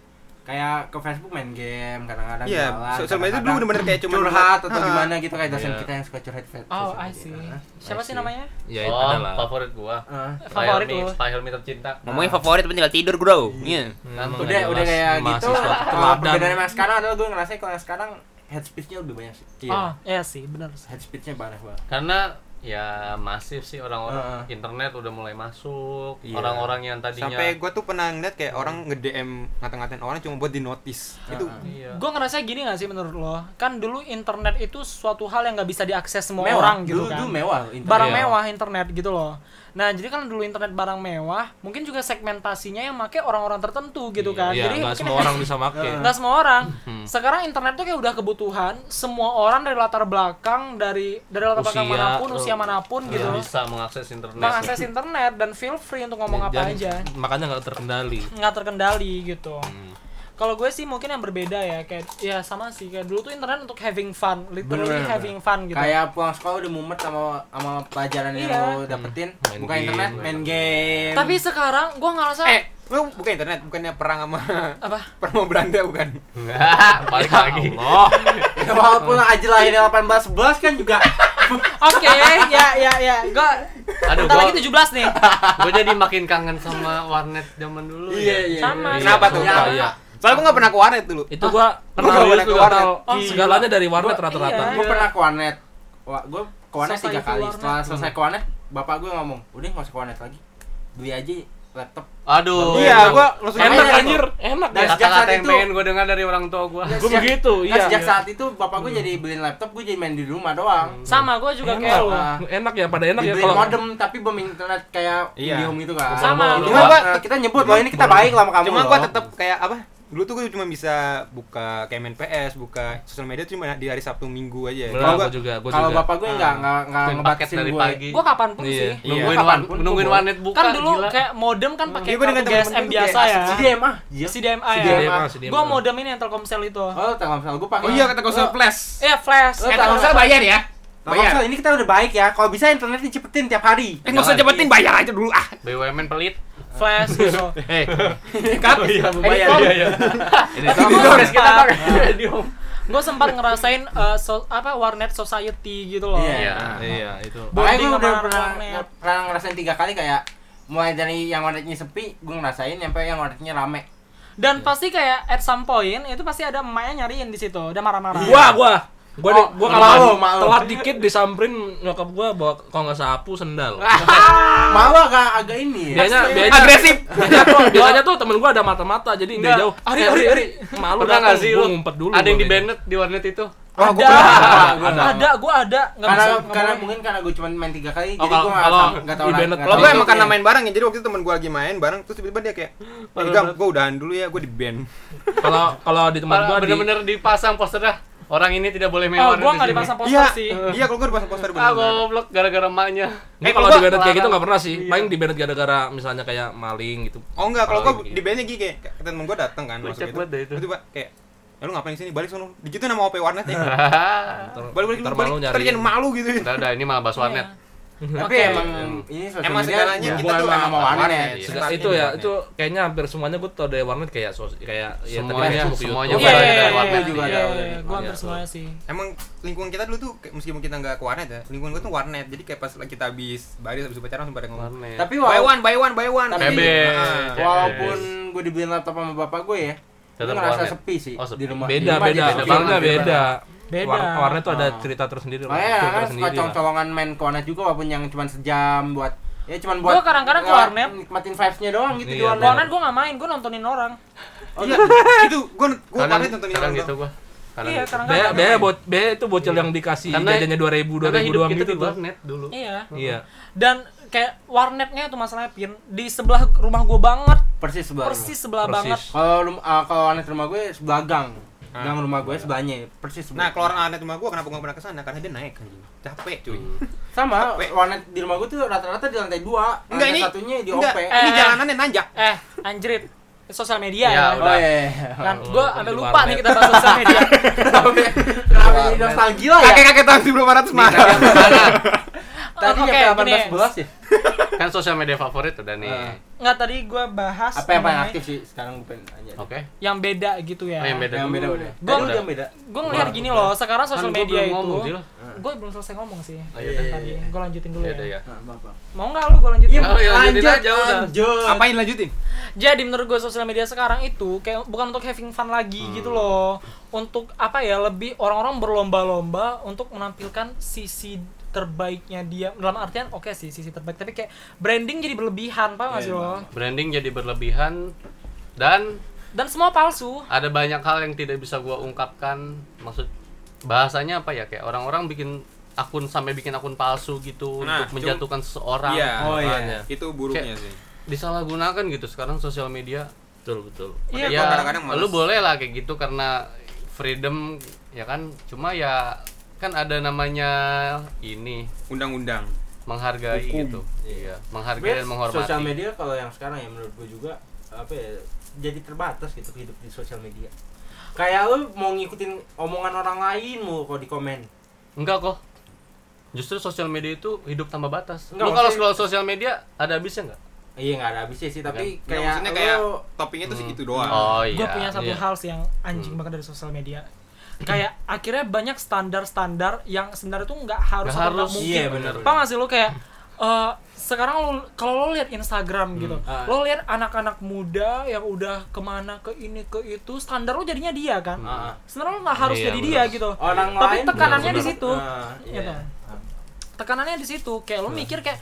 Speaker 3: kayak ke Facebook main game kadang-kadang
Speaker 5: Iya,
Speaker 3: jalan,
Speaker 5: sosial media itu
Speaker 3: kadang-kadang
Speaker 5: dulu bener-bener kayak cuman-
Speaker 3: curhat atau
Speaker 5: Ha-ha.
Speaker 3: gimana gitu kayak dosen
Speaker 2: Iya.
Speaker 3: kita yang suka curhat di
Speaker 1: Oh,
Speaker 3: sosial
Speaker 1: I
Speaker 3: media.
Speaker 1: see.
Speaker 3: Hah?
Speaker 1: Siapa sih namanya?
Speaker 4: ya itu
Speaker 2: oh
Speaker 4: adalah
Speaker 2: favorit gua
Speaker 3: Ah.
Speaker 1: Favorit
Speaker 2: Pak Helmi,
Speaker 1: lu.
Speaker 2: Pak Helmi tercinta
Speaker 5: Ngomongin favorit penting tinggal tidur, Bro. Iya.
Speaker 2: Kan
Speaker 4: Hmm.
Speaker 3: udah
Speaker 2: nggak
Speaker 3: udah
Speaker 2: jelas.
Speaker 3: kayak gitu <laughs>
Speaker 1: <laughs>
Speaker 4: mahasiswa
Speaker 3: kalau
Speaker 4: teladan.
Speaker 3: perbedaannya sama yang sekarang adalah gue ngerasa kalau yang sekarang head speech-nya lebih banyak sih
Speaker 1: Oh, iya sih, benar sih.
Speaker 3: head speech-nya banyak banget
Speaker 2: karena ya masif sih orang-orang
Speaker 3: Heeh.
Speaker 4: gitu.
Speaker 2: internet udah mulai masuk
Speaker 5: Iya.
Speaker 2: orang-orang yang tadinya
Speaker 5: Sampai gue tuh pernah ngeliat kayak orang nge-DM ngata-ngatain orang cuma buat di notice. Itu
Speaker 3: Ha-ha.
Speaker 2: iya
Speaker 1: Gue ngerasa gini gak sih menurut lo? Kan dulu internet itu suatu hal yang gak bisa diakses semua
Speaker 3: mewah
Speaker 1: orang gitu
Speaker 3: dulu
Speaker 1: kan.
Speaker 3: dulu mewah loh internet.
Speaker 1: barang
Speaker 2: Iya.
Speaker 1: mewah internet gitu loh. Nah, jadi kan dulu internet barang mewah, mungkin juga segmentasinya yang make orang-orang tertentu gitu kan.
Speaker 4: iya
Speaker 1: jadi
Speaker 4: nggak
Speaker 1: mungkin Iya. <laughs>
Speaker 4: semua orang bisa make
Speaker 1: nggak semua orang. Sekarang internet tuh kayak udah kebutuhan, semua orang dari latar belakang dari dari latar belakang
Speaker 4: Usia,
Speaker 1: manapun,
Speaker 4: eh,
Speaker 1: usia manapun gitu.
Speaker 2: Nggak bisa mengakses internet
Speaker 1: Mengakses internet dan feel free untuk ngomong apa
Speaker 4: Iya, Dan
Speaker 1: aja.
Speaker 4: makanya nggak terkendali
Speaker 1: Nggak terkendali gitu. Kalau gue sih mungkin yang berbeda ya kayak ya sama sih kayak dulu tuh internet untuk having fun, literally
Speaker 3: Bener-bener.
Speaker 1: having fun gitu.
Speaker 3: kayak pulang sekolah udah mumet sama sama pelajaran yang
Speaker 1: Iya.
Speaker 3: lo dapetin
Speaker 4: Main
Speaker 3: buka
Speaker 4: game,
Speaker 3: internet main game
Speaker 1: Tapi sekarang gue ngerasa
Speaker 5: Eh, lu bukan internet, bukannya perang sama <laughs>
Speaker 1: apa?
Speaker 5: perang sama Belanda bukan?
Speaker 2: Nggak, <laughs> balik lagi
Speaker 4: oh
Speaker 3: Ya, walaupun aja lahirnya 1811 kan juga
Speaker 1: Oke,
Speaker 3: <laughs>
Speaker 1: ya ya ya. Gua
Speaker 2: Aduh,
Speaker 1: bentar
Speaker 2: gua-
Speaker 1: lagi 17 nih.
Speaker 2: gue jadi makin kangen sama warnet zaman dulu ya.
Speaker 1: Sama.
Speaker 4: Iya,
Speaker 5: Kenapa tuh?
Speaker 4: sumpah,
Speaker 3: Ya.
Speaker 4: iya.
Speaker 5: Soalnya gue gak pernah ke warnet dulu.
Speaker 4: itu gua pernah
Speaker 5: pernah
Speaker 4: lihat
Speaker 5: ke
Speaker 4: juga
Speaker 5: warnet.
Speaker 4: tahu segalanya dari warnet rata-rata
Speaker 1: iya.
Speaker 3: gue pernah ke warnet Wah, gue ke warnet
Speaker 1: Selesai
Speaker 3: tiga
Speaker 1: ke
Speaker 3: kali
Speaker 1: warnet.
Speaker 3: setelah selesai ke warnet bapak gue ngomong udah nggak usah konet lagi beli aja laptop
Speaker 2: Aduh.
Speaker 4: Iya, gua langsung
Speaker 3: Makanya
Speaker 4: enak
Speaker 3: itu.
Speaker 4: anjir, enak
Speaker 3: Dan
Speaker 4: ya.
Speaker 3: sejak saat
Speaker 2: Kata-kata yang
Speaker 3: itu-
Speaker 2: pengen gue dengar dari orang tua gue.
Speaker 3: Nggak,
Speaker 4: Gua
Speaker 3: sejak-
Speaker 4: begitu,
Speaker 3: nggak,
Speaker 4: iya.
Speaker 3: kan sejak saat itu bapak gue jadi beliin laptop gue jadi main di rumah doang
Speaker 1: Sama gue juga
Speaker 3: Iya,
Speaker 1: kayak
Speaker 4: Enak,
Speaker 1: lo.
Speaker 3: lah.
Speaker 4: Enak ya, pada Hmm. Iya. enak ya
Speaker 3: dibeliin
Speaker 4: kalau
Speaker 3: modem tapi belum internet kayak
Speaker 5: Iya.
Speaker 3: Indihome itu kan
Speaker 1: Sama.
Speaker 3: Cuma
Speaker 5: Cuma-
Speaker 3: gua- kita nyebut loh ini kita baik lah sama kamu
Speaker 5: cuma
Speaker 3: loh.
Speaker 5: gua tetap kayak apa dulu tuh gua cuma bisa buka kayak main PS buka sosial media tuh cuma di hari Sabtu Minggu aja
Speaker 4: Bener,
Speaker 5: kalau
Speaker 4: gua
Speaker 5: gua
Speaker 4: juga, gua
Speaker 3: kalau
Speaker 4: juga.
Speaker 3: bapak gue nggak nggak nggak
Speaker 2: Nungguin paket
Speaker 3: ngebatasin
Speaker 2: dari
Speaker 3: gue
Speaker 2: pagi.
Speaker 1: Gue kapanpun
Speaker 4: Iya.
Speaker 1: sih.
Speaker 2: Nungguin
Speaker 3: Iya.
Speaker 2: wan,
Speaker 3: Kapanpun gua
Speaker 2: nungguin
Speaker 3: boleh.
Speaker 2: warnet buka.
Speaker 1: Kan dulu
Speaker 2: gila.
Speaker 1: kayak modem kan pakai
Speaker 5: Iya, gua dengan
Speaker 1: kartu
Speaker 5: temen-temen
Speaker 1: GSM
Speaker 5: tuh
Speaker 1: biasa ya.
Speaker 3: CDMA iya
Speaker 1: CDMA ya.
Speaker 4: CDMA, CDMA.
Speaker 1: Gue modem ini yang Telkomsel itu.
Speaker 3: oh telkomsel gue pakai
Speaker 4: Oh iya, kata kau surplus.
Speaker 1: Iya flash.
Speaker 3: Eh,
Speaker 1: Iya,
Speaker 3: Telkomsel
Speaker 4: bayar ya.
Speaker 3: Telkomsel ini kita udah baik ya kalau bisa internetnya cepetin tiap hari
Speaker 4: Eh, nggak usah cepetin bayar aja dulu ah.
Speaker 2: BUMN pelit.
Speaker 1: Flash gitu.
Speaker 2: <laughs>
Speaker 4: Eh, cut.
Speaker 3: bayar
Speaker 2: Ini podcast kita Pak. Editor.
Speaker 1: gue sempat ngerasain eh, so- apa warnet society gitu loh.
Speaker 3: Iya.
Speaker 2: Iya.
Speaker 4: Iya, itu.
Speaker 3: Makanya
Speaker 1: Bonding
Speaker 3: gue udah
Speaker 1: sama
Speaker 3: pernah,
Speaker 1: warnet.
Speaker 3: pernah ngerasain tiga kali kayak mulai dari yang warnetnya sepi, gue ngerasain sampai yang warnetnya rame.
Speaker 1: Dan pasti kayak at some point itu pasti ada emaknya nyariin di situ, udah marah-marah.
Speaker 4: Gua, gua. Gua di-
Speaker 3: Oh,
Speaker 4: gua
Speaker 3: malu,
Speaker 4: kalau
Speaker 3: malu.
Speaker 4: telat dikit disamperin nyokap gua bawa kalau nggak sapu sendal.
Speaker 3: Mau agak agak ini ya.
Speaker 4: Biasanya, biasanya agresif. Biasanya tuh, biasanya tuh temen gua ada mata-mata jadi dia
Speaker 2: Nggak.
Speaker 4: jauh. Eh,
Speaker 1: Ari, Ari, Ari.
Speaker 4: Malu
Speaker 2: Pernah nggak sih lu?
Speaker 4: Gua ngumpet dulu.
Speaker 2: Ada yang
Speaker 4: gua
Speaker 2: di
Speaker 4: kayaknya.
Speaker 2: banet di warnet itu.
Speaker 1: ada,
Speaker 4: gua pernah.
Speaker 1: ada, ada, gue ada. Nggak
Speaker 3: Karena
Speaker 1: bisa, nggak
Speaker 3: karena
Speaker 1: boleh.
Speaker 3: mungkin karena gue cuma main tiga kali,
Speaker 2: Oh,
Speaker 3: jadi
Speaker 2: kalau-
Speaker 3: gue nggak
Speaker 2: kalau
Speaker 3: nggak tahu
Speaker 4: di
Speaker 3: nggak
Speaker 4: banned-
Speaker 3: tahu
Speaker 5: kalau gue emang
Speaker 3: bentuknya.
Speaker 5: karena main bareng ya jadi waktu itu temen gue lagi main bareng terus tiba-tiba dia kayak eh gam gue udahan dulu ya gue di band
Speaker 4: Kalau kalau di tempat gua di
Speaker 2: Bener-bener dipasang posternya. Orang ini tidak boleh main
Speaker 1: Oh, gue
Speaker 2: warnet di
Speaker 1: nggak
Speaker 2: sini.
Speaker 1: dipasang poster
Speaker 5: iya
Speaker 1: sih.
Speaker 5: iya kalau gue dipasang poster
Speaker 2: Ah,
Speaker 5: bener
Speaker 2: goblok gara-gara emaknya.
Speaker 4: Gue
Speaker 2: Eh,
Speaker 4: kalau di banet kayak gitu
Speaker 2: nggak
Speaker 4: nggak pernah sih. Paling di banet gara-gara misalnya kayak maling gitu.
Speaker 5: oh enggak kalau
Speaker 4: Kalau
Speaker 5: gue
Speaker 4: gitu.
Speaker 5: di bandnya gini kayak kata temen gue dateng kan masuk
Speaker 2: Lecet
Speaker 5: itu
Speaker 2: banget dah itu.
Speaker 5: terus tiba kayak ya lu ngapain sini balik sono digituin nama OP warnet ya
Speaker 2: Ah.
Speaker 4: Ntar-
Speaker 5: balik balik
Speaker 4: ntar
Speaker 5: balik
Speaker 4: malu nyari.
Speaker 5: ntar jangan malu gitu
Speaker 2: Udah, udah, ini malah bahas
Speaker 1: Iya.
Speaker 2: warnet.
Speaker 3: Tapi
Speaker 1: Oke.
Speaker 3: emang ini sosial
Speaker 5: Emang
Speaker 3: media
Speaker 5: segalanya kita
Speaker 3: hubungan
Speaker 5: tuh
Speaker 3: sama
Speaker 5: emang
Speaker 3: warnet.
Speaker 5: warnet.
Speaker 4: Sega-
Speaker 5: Startnya
Speaker 4: itu
Speaker 5: di
Speaker 4: ya
Speaker 5: warnet.
Speaker 4: itu kayaknya hampir semuanya gue tau dari warnet kayak sos kayak
Speaker 2: Semuanya,
Speaker 1: Iya,
Speaker 2: semuanya
Speaker 1: iya,
Speaker 2: Gua ada
Speaker 1: iya,
Speaker 2: dari warnet
Speaker 1: iya, iya,
Speaker 3: juga ada,
Speaker 1: iya,
Speaker 3: ada.
Speaker 1: Gue hampir
Speaker 4: Iya,
Speaker 1: semuanya sih.
Speaker 5: emang lingkungan kita dulu tuh kayak- meskipun kita nggak ke warnet ya lingkungan gue tuh warnet jadi kayak pas lagi kita habis baris habis upacara langsung pada ngomong
Speaker 2: Warnet.
Speaker 3: Tapi
Speaker 5: buy
Speaker 3: walaupun
Speaker 5: one buy one buy one
Speaker 3: Tapi-
Speaker 5: Nah,
Speaker 2: Bebek.
Speaker 3: walaupun gue dibeliin laptop sama bapak gue ya, gue
Speaker 2: Tetap
Speaker 3: ngerasa
Speaker 2: warnet.
Speaker 3: sepi sih
Speaker 2: Oh, sepi.
Speaker 3: di rumah. Di
Speaker 4: beda
Speaker 3: rumah
Speaker 4: beda
Speaker 3: jadi
Speaker 2: beda
Speaker 3: sepi.
Speaker 4: beda
Speaker 2: banget.
Speaker 4: beda
Speaker 1: Beda.
Speaker 4: War- warnet tuh ada
Speaker 3: Ah.
Speaker 4: cerita tersendiri
Speaker 3: Makanya
Speaker 4: cerita
Speaker 3: kadang suka
Speaker 4: tersendiri lah.
Speaker 3: colong-colongan main ke warnet juga walaupun yang cuma sejam buat ya cuma buat
Speaker 1: Gua kadang-kadang ke
Speaker 3: ngelak-
Speaker 1: warnet.
Speaker 3: nikmatin vibes-nya doang gitu di
Speaker 4: Iya,
Speaker 3: warnet.
Speaker 1: Warnet gue nggak main, gue nontonin orang.
Speaker 5: iya itu gue gue
Speaker 2: Kadang,
Speaker 5: warnet nontonin
Speaker 2: kadang
Speaker 5: orang
Speaker 2: gitu gua. Kadang
Speaker 1: Iya,
Speaker 2: gitu.
Speaker 1: kadang
Speaker 4: Bea,
Speaker 1: kadang.
Speaker 4: bea, bot, bea itu bocil yang dikasih
Speaker 2: Karena-
Speaker 4: jajannya dua ribu dua
Speaker 2: Karena
Speaker 4: ribu
Speaker 2: hidup
Speaker 4: doang
Speaker 2: kita
Speaker 4: gitu
Speaker 2: di
Speaker 4: tuh.
Speaker 2: warnet dulu.
Speaker 1: Iya.
Speaker 4: Iya.
Speaker 1: Dan kayak warnetnya itu masalahnya pin di sebelah rumah gue banget,
Speaker 3: Persis sebelah.
Speaker 1: persis sebelah
Speaker 4: Persis.
Speaker 1: banget.
Speaker 3: Kalau rum- ah, kalau warnet rumah gue sebelah gang. Gang rumah gue sebelahnya persis
Speaker 5: Nah,
Speaker 3: sebelah.
Speaker 5: keluar anak rumah gua kenapa gua nggak pernah kesana? Karena dia naik anjing. Capek, cuy.
Speaker 3: sama warnet di rumah gue tuh rata-rata di lantai 2.
Speaker 5: Enggak, ini-
Speaker 3: satunya di
Speaker 5: Enggak,
Speaker 3: OP.
Speaker 5: ini
Speaker 1: Eh.
Speaker 5: jalanannya nanjak.
Speaker 1: Eh, anjrit, sosial media. ya.
Speaker 2: Ya, udah.
Speaker 3: Oh iya.
Speaker 1: Kan gue
Speaker 4: Di
Speaker 1: sampai lupa nih
Speaker 4: warnet.
Speaker 1: kita bahas sosial
Speaker 2: <laughs>
Speaker 1: media.
Speaker 3: <laughs> Kenapa jadi
Speaker 1: Oh,
Speaker 3: nostalgia
Speaker 1: iya.
Speaker 3: ya?
Speaker 5: Kakek-kakek tahun 1800 mah. <laughs>
Speaker 3: Tadi
Speaker 1: Oke,
Speaker 3: nyampe
Speaker 1: gini.
Speaker 3: 18 ya.
Speaker 2: Kan sosial media favorit udah nih.
Speaker 3: Eh.
Speaker 1: Nggak tadi gue bahas
Speaker 3: Apa yang paling
Speaker 1: mengenai
Speaker 3: aktif sih sekarang gue pengen nanya.
Speaker 2: Oke.
Speaker 1: yang beda gitu ya.
Speaker 2: Oh, yang beda.
Speaker 3: Yang beda udah.
Speaker 1: Gua-
Speaker 3: Tadi udah yang beda.
Speaker 1: Gue ngelihat gini loh, sekarang
Speaker 2: Kan
Speaker 1: sosial
Speaker 2: gua
Speaker 1: media
Speaker 2: belum ngomong,
Speaker 1: itu.
Speaker 2: Zil.
Speaker 1: Gue belum selesai ngomong sih.
Speaker 2: Oh, iya, iya,
Speaker 1: Tadi gue lanjutin dulu
Speaker 2: Iya,
Speaker 1: ya.
Speaker 2: udah ya.
Speaker 3: Nah, Bapak.
Speaker 1: Mau nggak lu gue lanjutin?
Speaker 2: Oh, iya, lanjutin aja udah.
Speaker 3: lanjut.
Speaker 5: Apain lanjutin?
Speaker 1: Jadi menurut gue sosial media sekarang itu kayak bukan untuk having fun lagi gitu loh. Untuk apa ya lebih orang-orang berlomba-lomba untuk menampilkan sisi terbaiknya dia dalam artian oke sih sisi terbaik tapi kayak branding jadi berlebihan paham nggak sih lo
Speaker 2: Branding jadi berlebihan dan
Speaker 1: dan semua palsu
Speaker 2: ada banyak hal yang tidak bisa gua ungkapkan. Maksud bahasanya apa ya? Kayak orang-orang bikin akun sampai bikin akun palsu gitu
Speaker 5: Nah,
Speaker 2: untuk menjatuhkan seseorang.
Speaker 5: Iya.
Speaker 3: Oh
Speaker 5: makanya.
Speaker 3: iya.
Speaker 5: Itu buruknya
Speaker 2: Kayak-
Speaker 5: sih.
Speaker 2: Disalahgunakan gitu sekarang sosial media.
Speaker 4: Betul betul.
Speaker 1: Iya,
Speaker 2: ya,
Speaker 5: gua kadang-kadang males.
Speaker 2: lu boleh lah kayak gitu karena freedom ya kan. Cuma ya kan ada namanya ini
Speaker 5: Undang-undang.
Speaker 2: menghargai
Speaker 5: Hukum.
Speaker 2: gitu. Iya, menghargai
Speaker 3: Sebenarnya
Speaker 2: dan menghormati.
Speaker 3: Sosial media kalau yang sekarang ya menurut gue juga apa ya jadi terbatas gitu hidup di sosial media. Kayak lu mau ngikutin omongan orang lain mau kok di komen.
Speaker 2: Enggak kok. Justru sosial media itu hidup tanpa batas.
Speaker 3: Enggak,
Speaker 2: lu kalau
Speaker 3: maksudnya-
Speaker 2: scroll sosial media ada habisnya enggak?
Speaker 3: Iya nggak ada habisnya sih tapi
Speaker 5: Nggak,
Speaker 3: kayak
Speaker 5: maksudnya kayak
Speaker 3: lu
Speaker 5: toppingnya tuh segitu doang.
Speaker 2: Oh. iya.
Speaker 1: gue punya satu hal sih yang anjing banget dari sosial media kayak akhirnya banyak standar-standar yang sebenarnya tuh nggak harus
Speaker 2: Nggak
Speaker 1: atau nggak
Speaker 2: harus.
Speaker 1: mungkin
Speaker 3: iya benar.
Speaker 1: paham gak sih lo kayak eh, sekarang lo kalau lo lihat Instagram gitu
Speaker 3: Ah.
Speaker 1: lo lihat anak-anak muda yang udah kemana ke ini ke itu standar lo jadinya dia kan
Speaker 3: Ah.
Speaker 1: sebenarnya lo nggak harus
Speaker 2: Iya,
Speaker 1: jadi
Speaker 2: bener.
Speaker 1: dia gitu
Speaker 3: Orang
Speaker 1: Tapi
Speaker 3: lain
Speaker 1: tekanannya
Speaker 3: benar-benar.
Speaker 1: di situ.
Speaker 3: Ah, iya.
Speaker 1: Gitu. tekanannya di situ kayak lo mikir kayak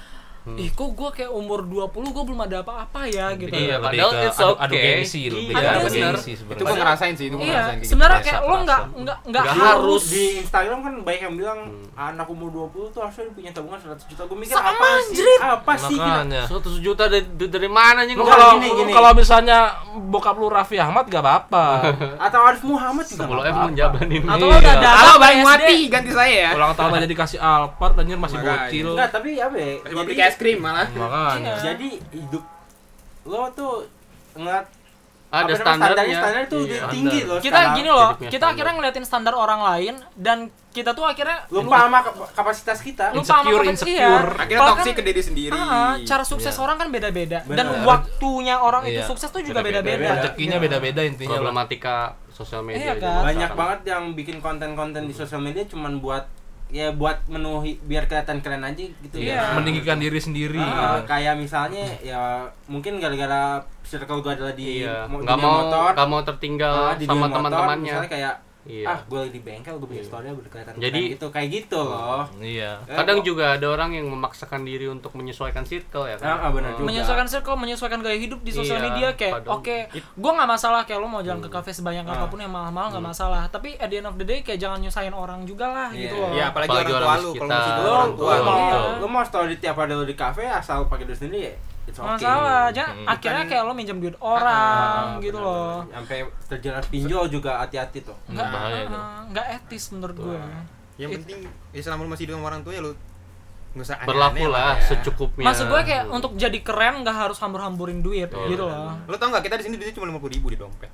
Speaker 1: ih kok gue kayak umur 20 gue belum ada apa-apa ya gitu
Speaker 2: Iya,
Speaker 6: Lebih
Speaker 2: padahal
Speaker 6: ke
Speaker 2: it's
Speaker 6: adu, adu
Speaker 2: okay.
Speaker 6: gengsi, lebih
Speaker 1: Iya,
Speaker 6: ke adu
Speaker 1: bener.
Speaker 6: gengsi
Speaker 5: itu gue
Speaker 6: sebenarnya.
Speaker 5: ngerasain sih itu gue
Speaker 1: iya
Speaker 5: ngerasain kayak gitu.
Speaker 1: sebenarnya
Speaker 6: Perasaan,
Speaker 1: kayak lo nggak
Speaker 6: perasaan.
Speaker 1: nggak nggak
Speaker 2: Nggak
Speaker 1: harus
Speaker 3: di Instagram kan banyak yang bilang anak umur 20 tuh harusnya punya tabungan 100 juta. Gue mikir
Speaker 1: Sama,
Speaker 3: apa sih?
Speaker 1: anjrit.
Speaker 3: Apa sih? gila?
Speaker 6: Makanya.
Speaker 2: 100 juta dari, dari mana nih?
Speaker 6: Lu
Speaker 3: Enggak,
Speaker 6: kalau
Speaker 3: gini, gini.
Speaker 6: kalau misalnya bokap lu Raffi Ahmad gak apa-apa.
Speaker 3: Atau Arif Muhammad juga.
Speaker 2: Sebelum
Speaker 3: nggak
Speaker 2: F
Speaker 3: apa-apa.
Speaker 2: menjabanin
Speaker 1: atau
Speaker 6: Iya.
Speaker 1: lo udah ada
Speaker 5: halo
Speaker 1: apa
Speaker 5: bang
Speaker 1: SD?
Speaker 5: Wati ganti saya ya
Speaker 6: Ulang tahun aja dikasih Alphard anjir masih
Speaker 5: Makanya.
Speaker 6: bocil.
Speaker 3: Enggak, tapi apa ya?
Speaker 5: Masih mau beli es krim malah
Speaker 4: Iya.
Speaker 1: Iya.
Speaker 6: Makanya.
Speaker 3: jadi hidup lo tuh ngeliat
Speaker 2: ada
Speaker 3: apa namanya,
Speaker 2: standarnya.
Speaker 3: standar itu
Speaker 2: Iya.
Speaker 3: tinggi
Speaker 2: Standar.
Speaker 3: loh.
Speaker 1: kita
Speaker 3: sekarang.
Speaker 1: gini loh
Speaker 2: hidupnya
Speaker 1: kita
Speaker 2: standar.
Speaker 1: akhirnya ngeliatin standar orang lain dan kita tuh akhirnya
Speaker 2: Iya.
Speaker 3: lupa sama kap- kapasitas kita.
Speaker 1: lupa sama
Speaker 6: Insecure,
Speaker 1: kapan-
Speaker 6: insecure.
Speaker 1: iya.
Speaker 5: akhirnya
Speaker 1: Padahal
Speaker 5: toksik
Speaker 1: kan-
Speaker 5: ke diri sendiri
Speaker 1: Ah, cara sukses
Speaker 6: Iya.
Speaker 1: orang kan beda-beda
Speaker 3: Bener.
Speaker 1: dan waktunya orang itu
Speaker 6: Iya.
Speaker 1: sukses tuh juga
Speaker 3: Beda-beda.
Speaker 1: beda-beda.
Speaker 6: Rezekinya
Speaker 3: Iya.
Speaker 6: beda-beda intinya. lah.
Speaker 2: problematika sosial media
Speaker 1: Iya kan?
Speaker 2: juga sekarang.
Speaker 3: banyak banget yang bikin konten-konten di sosial media cuman buat ya buat menuhi biar kelihatan keren aja gitu
Speaker 1: Iya.
Speaker 3: ya.
Speaker 6: Meninggikan diri sendiri.
Speaker 3: Ah, kayak misalnya ya mungkin gara-gara circle gue adalah di
Speaker 2: iya
Speaker 3: mo-
Speaker 2: nggak
Speaker 3: dunia
Speaker 2: mau
Speaker 3: motor
Speaker 2: nggak mau tertinggal
Speaker 3: ah, di dunia
Speaker 2: sama
Speaker 3: motor,
Speaker 2: teman-temannya
Speaker 3: misalnya kayak
Speaker 2: iya
Speaker 3: ah gue di bengkel gue bikin story gue kelihatan
Speaker 2: Jadi-
Speaker 3: keren gitu kayak gitu loh
Speaker 6: Iya.
Speaker 3: Eh,
Speaker 2: kadang
Speaker 3: kok-
Speaker 2: juga ada orang yang memaksakan diri untuk menyesuaikan circle ya kan
Speaker 3: Ah, ah, benar
Speaker 2: Oh.
Speaker 3: juga.
Speaker 1: Menyesuaikan circle, menyesuaikan gaya hidup di sosial
Speaker 2: Iya,
Speaker 1: media kayak
Speaker 2: padahal-
Speaker 1: oke, gua nggak masalah kayak lo mau jalan ke kafe sebanyak
Speaker 3: Ah.
Speaker 1: apapun yang mahal-mahal nggak masalah. Tapi at the end of the day kayak jangan nyusahin orang juga lah
Speaker 3: Iya.
Speaker 1: gitu loh.
Speaker 5: Iya, apalagi,
Speaker 2: Apalagi
Speaker 5: orang tua
Speaker 2: orang gitu. di
Speaker 5: lu
Speaker 2: sekitar,
Speaker 5: kalau masih
Speaker 3: lo,
Speaker 5: dulu orang
Speaker 3: lo
Speaker 5: tua
Speaker 1: orang
Speaker 5: lu.
Speaker 3: mau
Speaker 1: Iya.
Speaker 3: lo mau story tiap ada lo di kafe asal pakai duit sendiri ya it's
Speaker 1: Nggak
Speaker 3: okay
Speaker 1: masalah, jangan
Speaker 6: Hmm.
Speaker 1: akhirnya kayak lo minjem duit
Speaker 3: Ah,
Speaker 1: orang gitu
Speaker 3: benar,
Speaker 1: loh.
Speaker 3: benar. sampai terjerat pinjol juga hati-hati tuh
Speaker 1: Nggak
Speaker 6: Hmm, bahaya itu.
Speaker 1: ah, nggak etis menurut gue.
Speaker 5: yang penting ya selama lu masih hidup sama orang tua ya lu nggak usah aneh-aneh
Speaker 2: berlaku lah
Speaker 5: ya.
Speaker 2: secukupnya
Speaker 1: Maksud gue kayak untuk jadi keren nggak harus hambur-hamburin duit
Speaker 2: Iya.
Speaker 1: gitu loh.
Speaker 5: lu tau nggak kita di sini duitnya cuma lima puluh ribu di dompet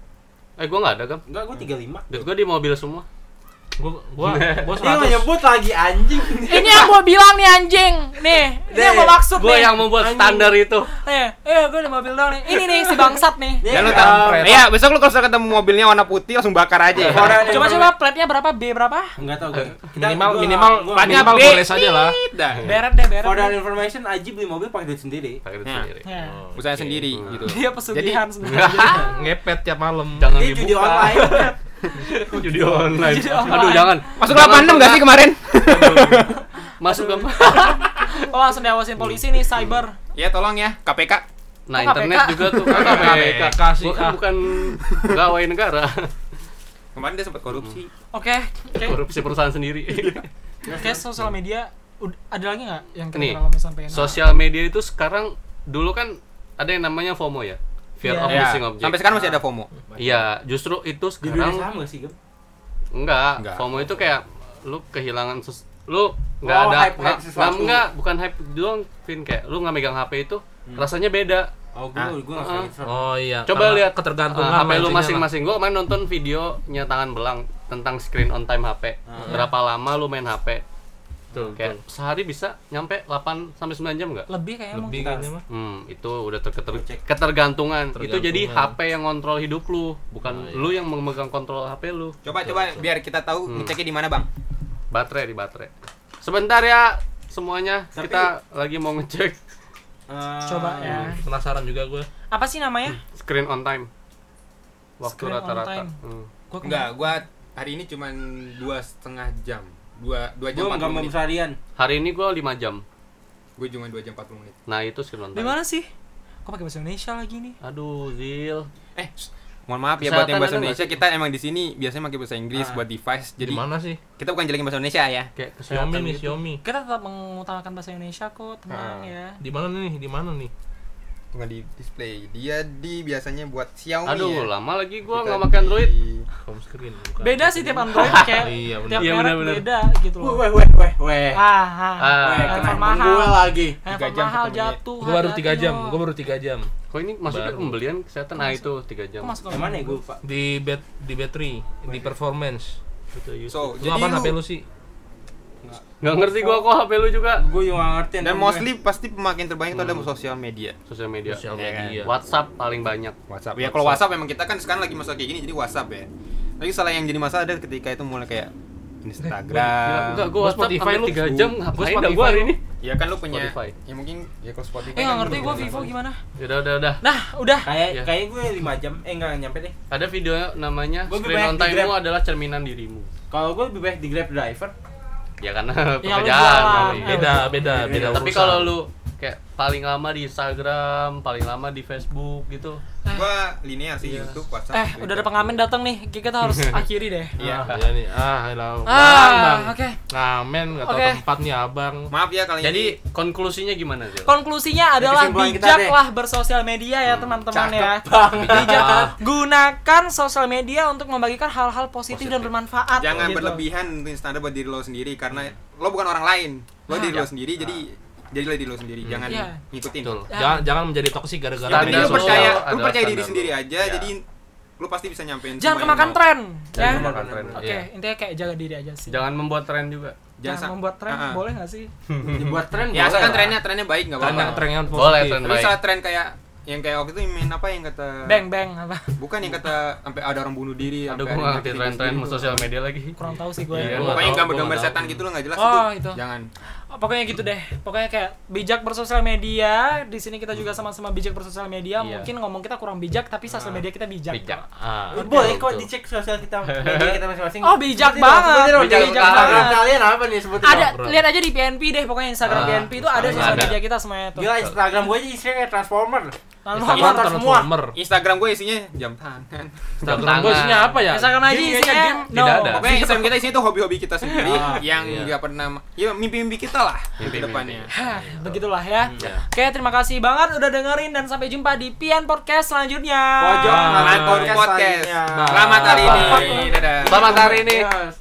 Speaker 2: eh gue nggak ada gam
Speaker 3: enggak gue 35
Speaker 2: duit gue di mobil semua
Speaker 6: Gua gua gua
Speaker 3: dia
Speaker 6: 100.
Speaker 3: nggak nyebut lagi anjing
Speaker 1: Ini yang gue bilang nih anjing, nih ini yang gue maksud
Speaker 2: gue
Speaker 1: nih.
Speaker 2: yang membuat standar itu
Speaker 1: Eh, eh gue di mobil doang nih. Ini nih si bangsat nih.
Speaker 3: Dia
Speaker 5: dan lu
Speaker 3: nggak-
Speaker 5: tau iya besok lu kalau sudah ketemu mobilnya warna putih langsung bakar aja ya
Speaker 2: Iya,
Speaker 3: Korea
Speaker 1: Coba
Speaker 3: dan Indonesia.
Speaker 1: coba platnya berapa? B berapa?
Speaker 3: Enggak tahu gue.
Speaker 6: Minimal minimal minimal
Speaker 5: B.
Speaker 6: boleh saja lah.
Speaker 5: dah
Speaker 2: Iya.
Speaker 1: Beret deh, beret.
Speaker 3: For
Speaker 1: deh.
Speaker 3: that information, Aji beli mobil pakai duit sendiri.
Speaker 2: pakai duit
Speaker 5: Nah.
Speaker 2: sendiri
Speaker 1: Ya.
Speaker 2: Oh,
Speaker 5: usahanya
Speaker 2: oke.
Speaker 5: sendiri
Speaker 2: Hmm.
Speaker 5: gitu
Speaker 1: Dia pesugihan sebenarnya.
Speaker 2: <laughs>
Speaker 6: Ngepet tiap malam.
Speaker 2: jangan
Speaker 3: Dia judi
Speaker 2: dibuka
Speaker 3: online.
Speaker 2: judi online
Speaker 1: Judi online.
Speaker 2: Nah, aduh jangan
Speaker 5: masuk
Speaker 2: Jangan
Speaker 5: 86 enggak sih <laughs> kemarin
Speaker 2: masuk gam
Speaker 1: Oh, langsung diawasin polisi nih cyber.
Speaker 5: ya tolong ya KPK
Speaker 2: nah
Speaker 1: Kok
Speaker 2: internet
Speaker 1: KPK?
Speaker 2: juga tuh kan KPK
Speaker 6: Kasih,
Speaker 2: Gua kan
Speaker 6: ah.
Speaker 2: bukan pegawai negara
Speaker 5: kemarin dia sempat korupsi
Speaker 1: Oke, oke.
Speaker 2: korupsi perusahaan sendiri
Speaker 1: Oke, sosial media ud- ada lagi nggak yang
Speaker 2: Nih,
Speaker 1: kira-kira lo mau sampein?
Speaker 2: sosial media itu sekarang dulu kan ada yang namanya FOMO ya fear
Speaker 1: Iya.
Speaker 2: of
Speaker 5: ya
Speaker 2: missing object
Speaker 5: sampai sekarang masih ada FOMO
Speaker 2: iya justru itu
Speaker 3: Di dunia
Speaker 2: sekarang
Speaker 3: saham nggak sih, Gem?
Speaker 2: enggak,
Speaker 5: Enggak.
Speaker 2: FOMO itu kayak lu kehilangan ses- lu nggak
Speaker 3: Oh,
Speaker 2: ada
Speaker 3: hype-hype
Speaker 2: nggak
Speaker 3: sesuatu.
Speaker 2: nggak- nggak, bukan hype doang Vin kayak lu nggak megang HP itu
Speaker 3: Hmm.
Speaker 2: rasanya beda
Speaker 3: Oh, gue gue nggak
Speaker 2: Ah.
Speaker 3: kayak gitu.
Speaker 6: Oh iya.
Speaker 2: coba
Speaker 6: Karena
Speaker 2: lihat
Speaker 6: ketergantungan
Speaker 2: ah, HP lu
Speaker 6: mancingnya
Speaker 2: masing-masing gua kemarin nonton videonya tangan belang tentang screen on time HP
Speaker 6: Ah.
Speaker 2: berapa lama lu main HP tuh kayak sehari bisa nyampe 8 sampai 9 jam nggak
Speaker 1: lebih kayaknya
Speaker 6: lebih
Speaker 1: mungkin.
Speaker 6: kayaknya mah.
Speaker 2: Hmm, itu udah ter- keter-
Speaker 3: Cek.
Speaker 2: ketergantungan. Itu
Speaker 6: Tergantungan. Oh, iya.
Speaker 2: jadi HP yang ngontrol hidup lu, bukan lu yang memegang kontrol HP lu.
Speaker 5: coba coba biar kita tahu ngeceknya di mana bang
Speaker 2: Baterai di baterai. Sebentar ya semuanya,
Speaker 3: Tapi-
Speaker 2: kita lagi mau ngecek
Speaker 3: Eh,
Speaker 1: Coba
Speaker 2: Nah,
Speaker 1: ya.
Speaker 2: iya.
Speaker 6: Iya, Penasaran juga gue.
Speaker 1: Apa sih namanya?
Speaker 2: screen on time. Waktu
Speaker 1: Screen on
Speaker 2: rata-rata.
Speaker 1: time.
Speaker 2: Hmm.
Speaker 1: Gua kemarin-
Speaker 5: enggak gua hari ini cuman dua setengah jam dua dua
Speaker 3: Gue
Speaker 5: jam
Speaker 3: nggak
Speaker 5: empat
Speaker 3: mau
Speaker 5: menit
Speaker 3: seharian.
Speaker 2: Hari ini gua 5 jam.
Speaker 5: gue cuma dua jam empat puluh menit
Speaker 2: Nah, itu screen on
Speaker 1: Di
Speaker 2: time.
Speaker 1: mana sih? Kok pakai bahasa Indonesia lagi nih?
Speaker 2: Aduh, Zil.
Speaker 5: eh shh, mohon maaf ya
Speaker 2: Kesehatan
Speaker 5: buat yang bahasa
Speaker 2: ada nggak
Speaker 5: Indonesia
Speaker 2: sih?
Speaker 5: kita emang di sini biasanya pakai bahasa Inggris buat device
Speaker 6: Jadi
Speaker 5: jadi
Speaker 6: mana sih?
Speaker 5: kita bukan jelekin bahasa Indonesia ya
Speaker 2: Kayak kesehatan
Speaker 6: Xiaomi nih,
Speaker 2: gitu.
Speaker 6: Xiaomi.
Speaker 1: Kita tetap mengutamakan bahasa Indonesia kok, tenang ya.
Speaker 6: Di mana nih? Di mana nih?
Speaker 5: bukan di display dia di biasanya buat
Speaker 6: Oh,
Speaker 5: Xiaomi
Speaker 2: Aduh,
Speaker 6: iya.
Speaker 5: ya.
Speaker 2: lama lagi
Speaker 5: Bukan
Speaker 2: gua nggak makan
Speaker 5: di-
Speaker 2: Android.
Speaker 6: Home screen. bukan.
Speaker 1: Beda sih tiap Android kayak
Speaker 6: Iya, bener.
Speaker 1: tiap
Speaker 2: Iya,
Speaker 1: merek
Speaker 2: bener-bener.
Speaker 1: beda gitu
Speaker 3: Weh,
Speaker 1: loh.
Speaker 3: weh, weh, weh, weh.
Speaker 1: Ah, ah.
Speaker 2: Ah.
Speaker 3: Weh,
Speaker 1: handphone
Speaker 3: Eh, kena
Speaker 1: mahal.
Speaker 3: gue lagi.
Speaker 1: handphone
Speaker 5: jam
Speaker 1: mahal
Speaker 5: ketemu dia.
Speaker 1: jatuh.
Speaker 6: Gua baru 3
Speaker 1: hati-hati
Speaker 6: jam.
Speaker 1: lo.
Speaker 6: Gua baru 3 jam.
Speaker 2: Kok ini masuknya
Speaker 6: Baru.
Speaker 2: pembelian kesehatan? Nah, itu 3 jam.
Speaker 1: Kok masuk
Speaker 3: Yang mana ya gue lupa?
Speaker 6: Di bat di battery, di performance.
Speaker 5: so
Speaker 6: Lu
Speaker 5: jadi
Speaker 6: apa
Speaker 5: lu,
Speaker 6: HP lu sih?
Speaker 2: Nggak ngerti gua kok HP lu juga.
Speaker 3: Gue juga nggak ngerti.
Speaker 5: dan mostly pasti pemakaian terbanyak itu
Speaker 2: Hmm.
Speaker 5: ada sosial media
Speaker 2: Sosial media.
Speaker 6: Sosial
Speaker 5: Iya kan?
Speaker 6: media.
Speaker 2: WhatsApp paling banyak.
Speaker 5: WhatsApp. Ya kalau WhatsApp memang kita kan sekarang lagi masalah kayak gini jadi WhatsApp ya. Tapi salah yang jadi masalah ada ketika itu mulai kayak
Speaker 1: Eh,
Speaker 2: Gila,
Speaker 5: Instagram.
Speaker 2: enggak, gue
Speaker 6: Nah, Gua
Speaker 2: WhatsApp
Speaker 6: Spotify
Speaker 2: sampai
Speaker 6: lu.
Speaker 2: 3 jam
Speaker 6: Gua
Speaker 2: ngapain dah
Speaker 6: Spotify
Speaker 2: gue hari
Speaker 6: lu.
Speaker 2: ini
Speaker 5: Ya kan lu punya
Speaker 2: Spotify.
Speaker 5: ya mungkin ya kalau Spotify.
Speaker 1: Eh
Speaker 5: kan
Speaker 1: nggak ngerti
Speaker 5: lu
Speaker 1: gue
Speaker 5: punya
Speaker 1: Vivo
Speaker 5: apa.
Speaker 1: gimana.
Speaker 2: Yaudah, udah, udah
Speaker 1: Nah udah.
Speaker 3: Kayak
Speaker 2: Iya.
Speaker 3: kayak gue 5 jam. Eh enggak nyampe deh.
Speaker 2: Ada video namanya
Speaker 3: Gua lebih
Speaker 2: Screen
Speaker 3: banyak
Speaker 2: on
Speaker 3: di
Speaker 2: Time-mu
Speaker 3: Grab.
Speaker 2: adalah cerminan dirimu
Speaker 3: Kalau gue lebih baik di Grab driver.
Speaker 2: Ya karena
Speaker 1: Ya, lu
Speaker 2: pekerjaan
Speaker 1: jualan.
Speaker 2: kali. Iya.
Speaker 1: Eh,
Speaker 6: Beda, beda, beda.
Speaker 2: Tapi
Speaker 6: urusan.
Speaker 2: kalau lu kayak paling lama di Instagram paling lama di Facebook gitu
Speaker 5: Gua linear sih YouTube, WhatsApp.
Speaker 1: Eh, udah ada pengamen datang nih. Kita harus akhiri deh.
Speaker 6: Iya. iya nih. Ah, hello. Bang, bang.
Speaker 1: Ah, oke.
Speaker 6: Ngamen enggak tahu
Speaker 1: Oke.
Speaker 6: tempat nih Abang.
Speaker 5: Maaf ya kali ini.
Speaker 2: jadi konklusinya gimana
Speaker 6: Oh,
Speaker 2: sih
Speaker 1: Konklusinya adalah
Speaker 3: kesimpulan kita deh.
Speaker 1: bijaklah bersosial media ya teman-teman ya. <laughs> Bijak. Gunakan sosial media untuk membagikan hal-hal positif, dan bermanfaat.
Speaker 5: jangan
Speaker 1: gitu.
Speaker 5: berlebihan untuk standar buat diri lo sendiri karena lo bukan orang lain. Lo diri lo sendiri jadi jadilah diri lo sendiri. Jangan
Speaker 1: Ah, Iya.
Speaker 5: ngikutin.
Speaker 2: Hmm. betul
Speaker 1: Ya.
Speaker 6: Jangan jangan menjadi toksik gara-gara
Speaker 5: Yang penting
Speaker 2: Standar
Speaker 5: lo
Speaker 2: sosial
Speaker 5: percaya, lo
Speaker 2: adalah
Speaker 5: percaya diri
Speaker 2: standar
Speaker 5: sendiri
Speaker 2: lo.
Speaker 5: aja
Speaker 2: Iya.
Speaker 5: jadi lo pasti bisa nyampein
Speaker 1: Jangan
Speaker 5: semua yang
Speaker 1: kemakan
Speaker 5: lo-
Speaker 1: tren, ya.
Speaker 2: Jangan memakan tren.
Speaker 1: Oke,
Speaker 2: Iya.
Speaker 1: intinya kayak jaga diri aja sih.
Speaker 2: jangan membuat tren juga
Speaker 1: Jangan
Speaker 5: sa-
Speaker 1: membuat tren,
Speaker 5: Ah, ah.
Speaker 1: boleh nggak sih?
Speaker 3: dibuat tren
Speaker 5: Ya,
Speaker 3: boleh
Speaker 5: asalkan
Speaker 3: lah.
Speaker 5: trennya trennya baik enggak
Speaker 6: Tren yang
Speaker 5: apa-apa.
Speaker 6: tren yang positif.
Speaker 2: Boleh, tren.
Speaker 5: Tapi
Speaker 2: Baik.
Speaker 5: salah tren kayak yang kayak waktu itu yang main apa yang
Speaker 2: Ah.
Speaker 5: kata
Speaker 1: Bang bang apa?
Speaker 5: bukan yang kata sampai ada orang bunuh diri
Speaker 2: aduh gue
Speaker 5: sampai ada
Speaker 2: nggak ngerti
Speaker 5: yang
Speaker 2: tren-tren Iya,
Speaker 5: aktivis
Speaker 2: sosial media lagi
Speaker 6: Ya.
Speaker 1: Kurang tahu sih gue.
Speaker 5: gitu.
Speaker 2: Iya,
Speaker 5: pokoknya
Speaker 6: nggak tahu,
Speaker 5: gambar-gambar
Speaker 6: gua nggak
Speaker 5: setan
Speaker 6: tahu.
Speaker 5: gitu lo nggak jelas
Speaker 1: Oh, itu.
Speaker 5: jangan
Speaker 1: Pokoknya gitu deh. Pokoknya kayak bijak bersosial media. Di sini kita juga sama-sama bijak bersosial media.
Speaker 2: Hmm. Iya. Ah.
Speaker 1: Mungkin ngomong kita kurang bijak, tapi sosial media kita bijak.
Speaker 2: bijak ah,
Speaker 3: boleh kok
Speaker 2: betul.
Speaker 3: dicek sosial
Speaker 2: <laughs>
Speaker 3: kita media kita masing-masing
Speaker 1: Oh, bijak
Speaker 3: Sebutin dong,
Speaker 1: banget.
Speaker 3: sebutin dong,
Speaker 2: Bijak
Speaker 3: bijak
Speaker 2: banget.
Speaker 3: banget kalian apa nih sebutin
Speaker 1: Ada
Speaker 6: Bro.
Speaker 1: lihat aja di PNP deh. Pokoknya Instagram
Speaker 2: Ah,
Speaker 1: PNP itu ada
Speaker 2: Instagram
Speaker 1: sosial
Speaker 2: ada.
Speaker 1: media kita semuanya
Speaker 3: dong.
Speaker 1: tuh.
Speaker 3: gila Instagram gue aja isinya kayak transformer
Speaker 1: Lalu
Speaker 6: Instagram
Speaker 3: Motor semua.
Speaker 6: transformer.
Speaker 5: Instagram gue isinya jam tangan
Speaker 6: Instagram gue isinya apa ya?
Speaker 1: Instagram aja
Speaker 5: Game,
Speaker 1: isinya
Speaker 5: game.
Speaker 1: no.
Speaker 2: Tidak ada.
Speaker 5: Pokoknya Instagram kita isinya tuh hobi-hobi kita sendiri
Speaker 3: Ah,
Speaker 5: <laughs> yang
Speaker 2: iya.
Speaker 5: nggak pernah ya mimpi-mimpi kita lah ke depannya.
Speaker 1: Hah, begitulah ya.
Speaker 2: Iya.
Speaker 1: Oke, terima kasih banget udah dengerin dan sampai jumpa di Pian Podcast selanjutnya.
Speaker 3: pojok
Speaker 6: Bye.
Speaker 3: ngamen podcast
Speaker 5: Podcast.
Speaker 3: selanjutnya.
Speaker 5: Selamat hari ini. Dadah.
Speaker 6: Ya.
Speaker 2: selamat hari ini
Speaker 3: Yes.